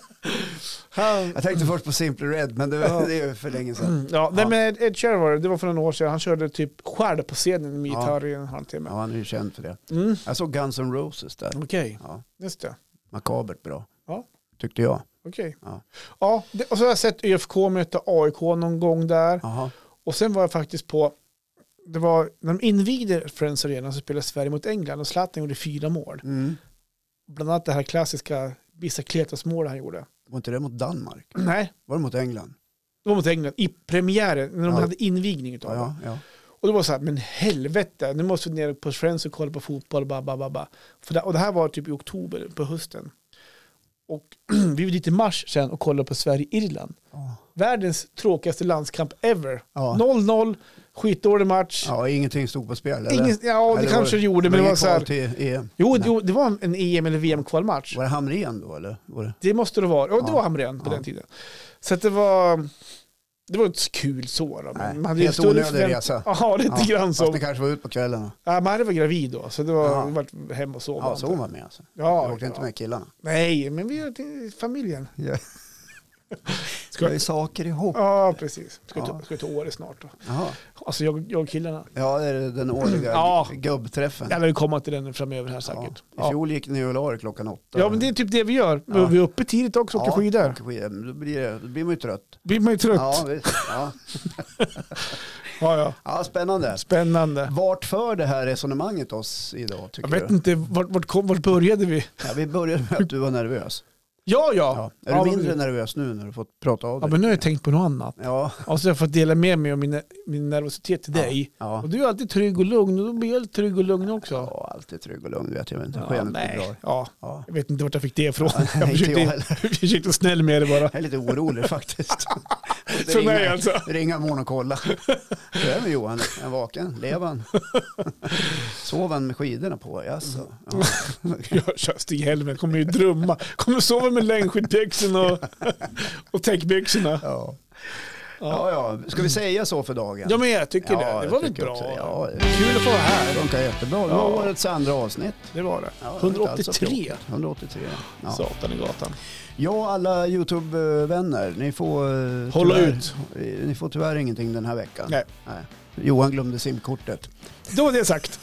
S2: han
S1: Jag tänkte först på Simply Red, men det,
S2: Ja.
S1: det är ju för länge sedan.
S2: Ja, nej,
S1: Mm. Ja.
S2: men Ed Sheeran var det. Det var för några år sedan. Han körde typ själv på scenen med
S1: Ja.
S2: gitarr i en halvtimme.
S1: Ja, han är ju känd för det.
S2: Mm.
S1: Jag såg Guns N' Roses där.
S2: Okej,
S1: Ja,
S2: just det.
S1: makabert bra,
S2: Ja.
S1: tyckte jag.
S2: Okej.
S1: Ja.
S2: Ja, det, och så har jag sett ÖFK möta AIK någon gång där.
S1: Jaha.
S2: Och sen var jag faktiskt på, det var när de invigde Friends Arena så spelade Sverige mot England och Zlatan gjorde fyra mål.
S1: Mm.
S2: Bland annat det här klassiska Bicicletas-målet han gjorde.
S1: Var inte det mot Danmark?
S2: Nej,
S1: Var det mot England?
S2: det var mot England i premiären när de
S1: Ja.
S2: hade invigning utav
S1: Ja,
S2: det.
S1: ja, ja.
S2: Och det var så här, men helvete, nu måste vi ner på Friends och kolla på fotboll. Ba, ba, ba, ba. För det, och det här var typ i oktober, på hösten. Och vi var dit i mars sen och kollade på Sverige-Irland.
S1: ja.
S2: Världens tråkigaste landskamp ever.
S1: ja.
S2: 0-0, skitdålig match.
S1: Ja, ingenting stod på spel. Eller?
S2: Ingen, ja, det
S1: Eller
S2: kanske det gjorde, men det var så här.
S1: Till EM.
S2: Jo,
S1: typ? Nej.
S2: jo, det var en EM eller VM-kvalmatch.
S1: Var det Hamrén då eller? Var det?
S2: Det måste det vara. Och det
S1: Ja.
S2: var Hamrén på
S1: Ja.
S2: den tiden. Så att det var... Det var inte så kul så. Då,
S1: Nej,
S2: men man hade ju
S1: helt
S2: större
S1: onödig
S2: förvänt-
S1: resa.
S2: Ja, lite grann
S1: Fast
S2: så.
S1: ni kanske var ute på kvällen. och-
S2: Ja, Marre var gravid då, så det var,
S1: Jaha.
S2: vi vart hemma och sov.
S1: Ja, så
S2: inte.
S1: hon var med alltså.
S2: Ja,
S1: jag åkte inte
S2: ja.
S1: med killarna.
S2: Nej, men vi är till familjen.
S1: Ja.
S2: Ska-
S1: Ska ju saker ihop.
S2: Ja, precis. Ska,
S1: Ja.
S2: Till, ska till Åre snart då.
S1: Jaha.
S2: Alltså jag, jag och killarna.
S1: Ja, det är den årliga
S2: Ja.
S1: gubbträffen.
S2: Jag lär ju komma till den framöver här säkert.
S1: I
S2: Ja.
S1: fjol gick ni och la er klockan åtta.
S2: ja, men det är typ det vi gör.
S1: Ja.
S2: Vi är uppe tidigt också och åker
S1: Ja,
S2: skidor.
S1: åker skidor. Men Då blir, det- då blir man ju trött.
S2: blir man ju trött.
S1: Ja,
S2: Ja,
S1: visst. ja.
S2: ja.
S1: ja, spännande.
S2: Spännande.
S1: Vart för det här resonemanget oss idag tycker
S2: Jag vet
S1: du?
S2: inte, vart, vart, kom, vart började vi?
S1: Ja, vi började med att du var nervös.
S2: Ja, ja.
S1: Ja. Är
S2: ja,
S1: du mindre
S2: men,
S1: nervös nu när du fått prata av
S2: Ja,
S1: dig?
S2: men nu har jag tänkt på något annat.
S1: Ja,
S2: Alltså jag har fått dela med mig av min, min nervositet till
S1: Ja.
S2: dig.
S1: ja.
S2: Och du är alltid trygg och lugn och då blir jag lite trygg och lugn också.
S1: ja alltid trygg och lugn vet jag inte.
S2: Ja,
S1: Skenet
S2: nej.
S1: bedrar.
S2: Ja,
S1: Ja.
S2: jag vet inte vart jag fick det ifrån. Jag
S1: Nej, inte jag
S2: försökte,
S1: heller.
S2: jag försökte vara snäll med det bara.
S1: Jag är lite orolig faktiskt. Måste
S2: För mig
S1: ringa-
S2: alltså.
S1: Ringa morgon och kolla. Hur är det med Johan? Är han vaken? Lever han? Sov han med skidorna på?
S2: Mm.
S1: Jaså? Ja.
S2: Jag kör Stig Helmer, kommer ju drömma. Kommer sova med längdskidbyxorna och, och täckbyxorna.
S1: Ja.
S2: Ja.
S1: ja, ja. Ska vi säga så för dagen?
S2: ja, men jag tycker
S1: Ja,
S2: det. Det
S1: jag
S2: var väl
S1: tycker
S2: bra.
S1: också det. Ja, det
S2: Kul att få vara här.
S1: funkar jättebra. Det var
S2: Ja.
S1: årets andra avsnitt.
S2: Det var det.
S1: Ja, det var inte alls så
S2: 183.
S1: 183. Ja.
S2: Satan i gatan.
S1: Ja, alla YouTube-vänner, ni får... eh,
S2: Hålla
S1: tyvärr,
S2: ut.
S1: eh, Ni får tyvärr ingenting den här veckan.
S2: Nej.
S1: Johan glömde simkortet.
S2: Då var det sagt.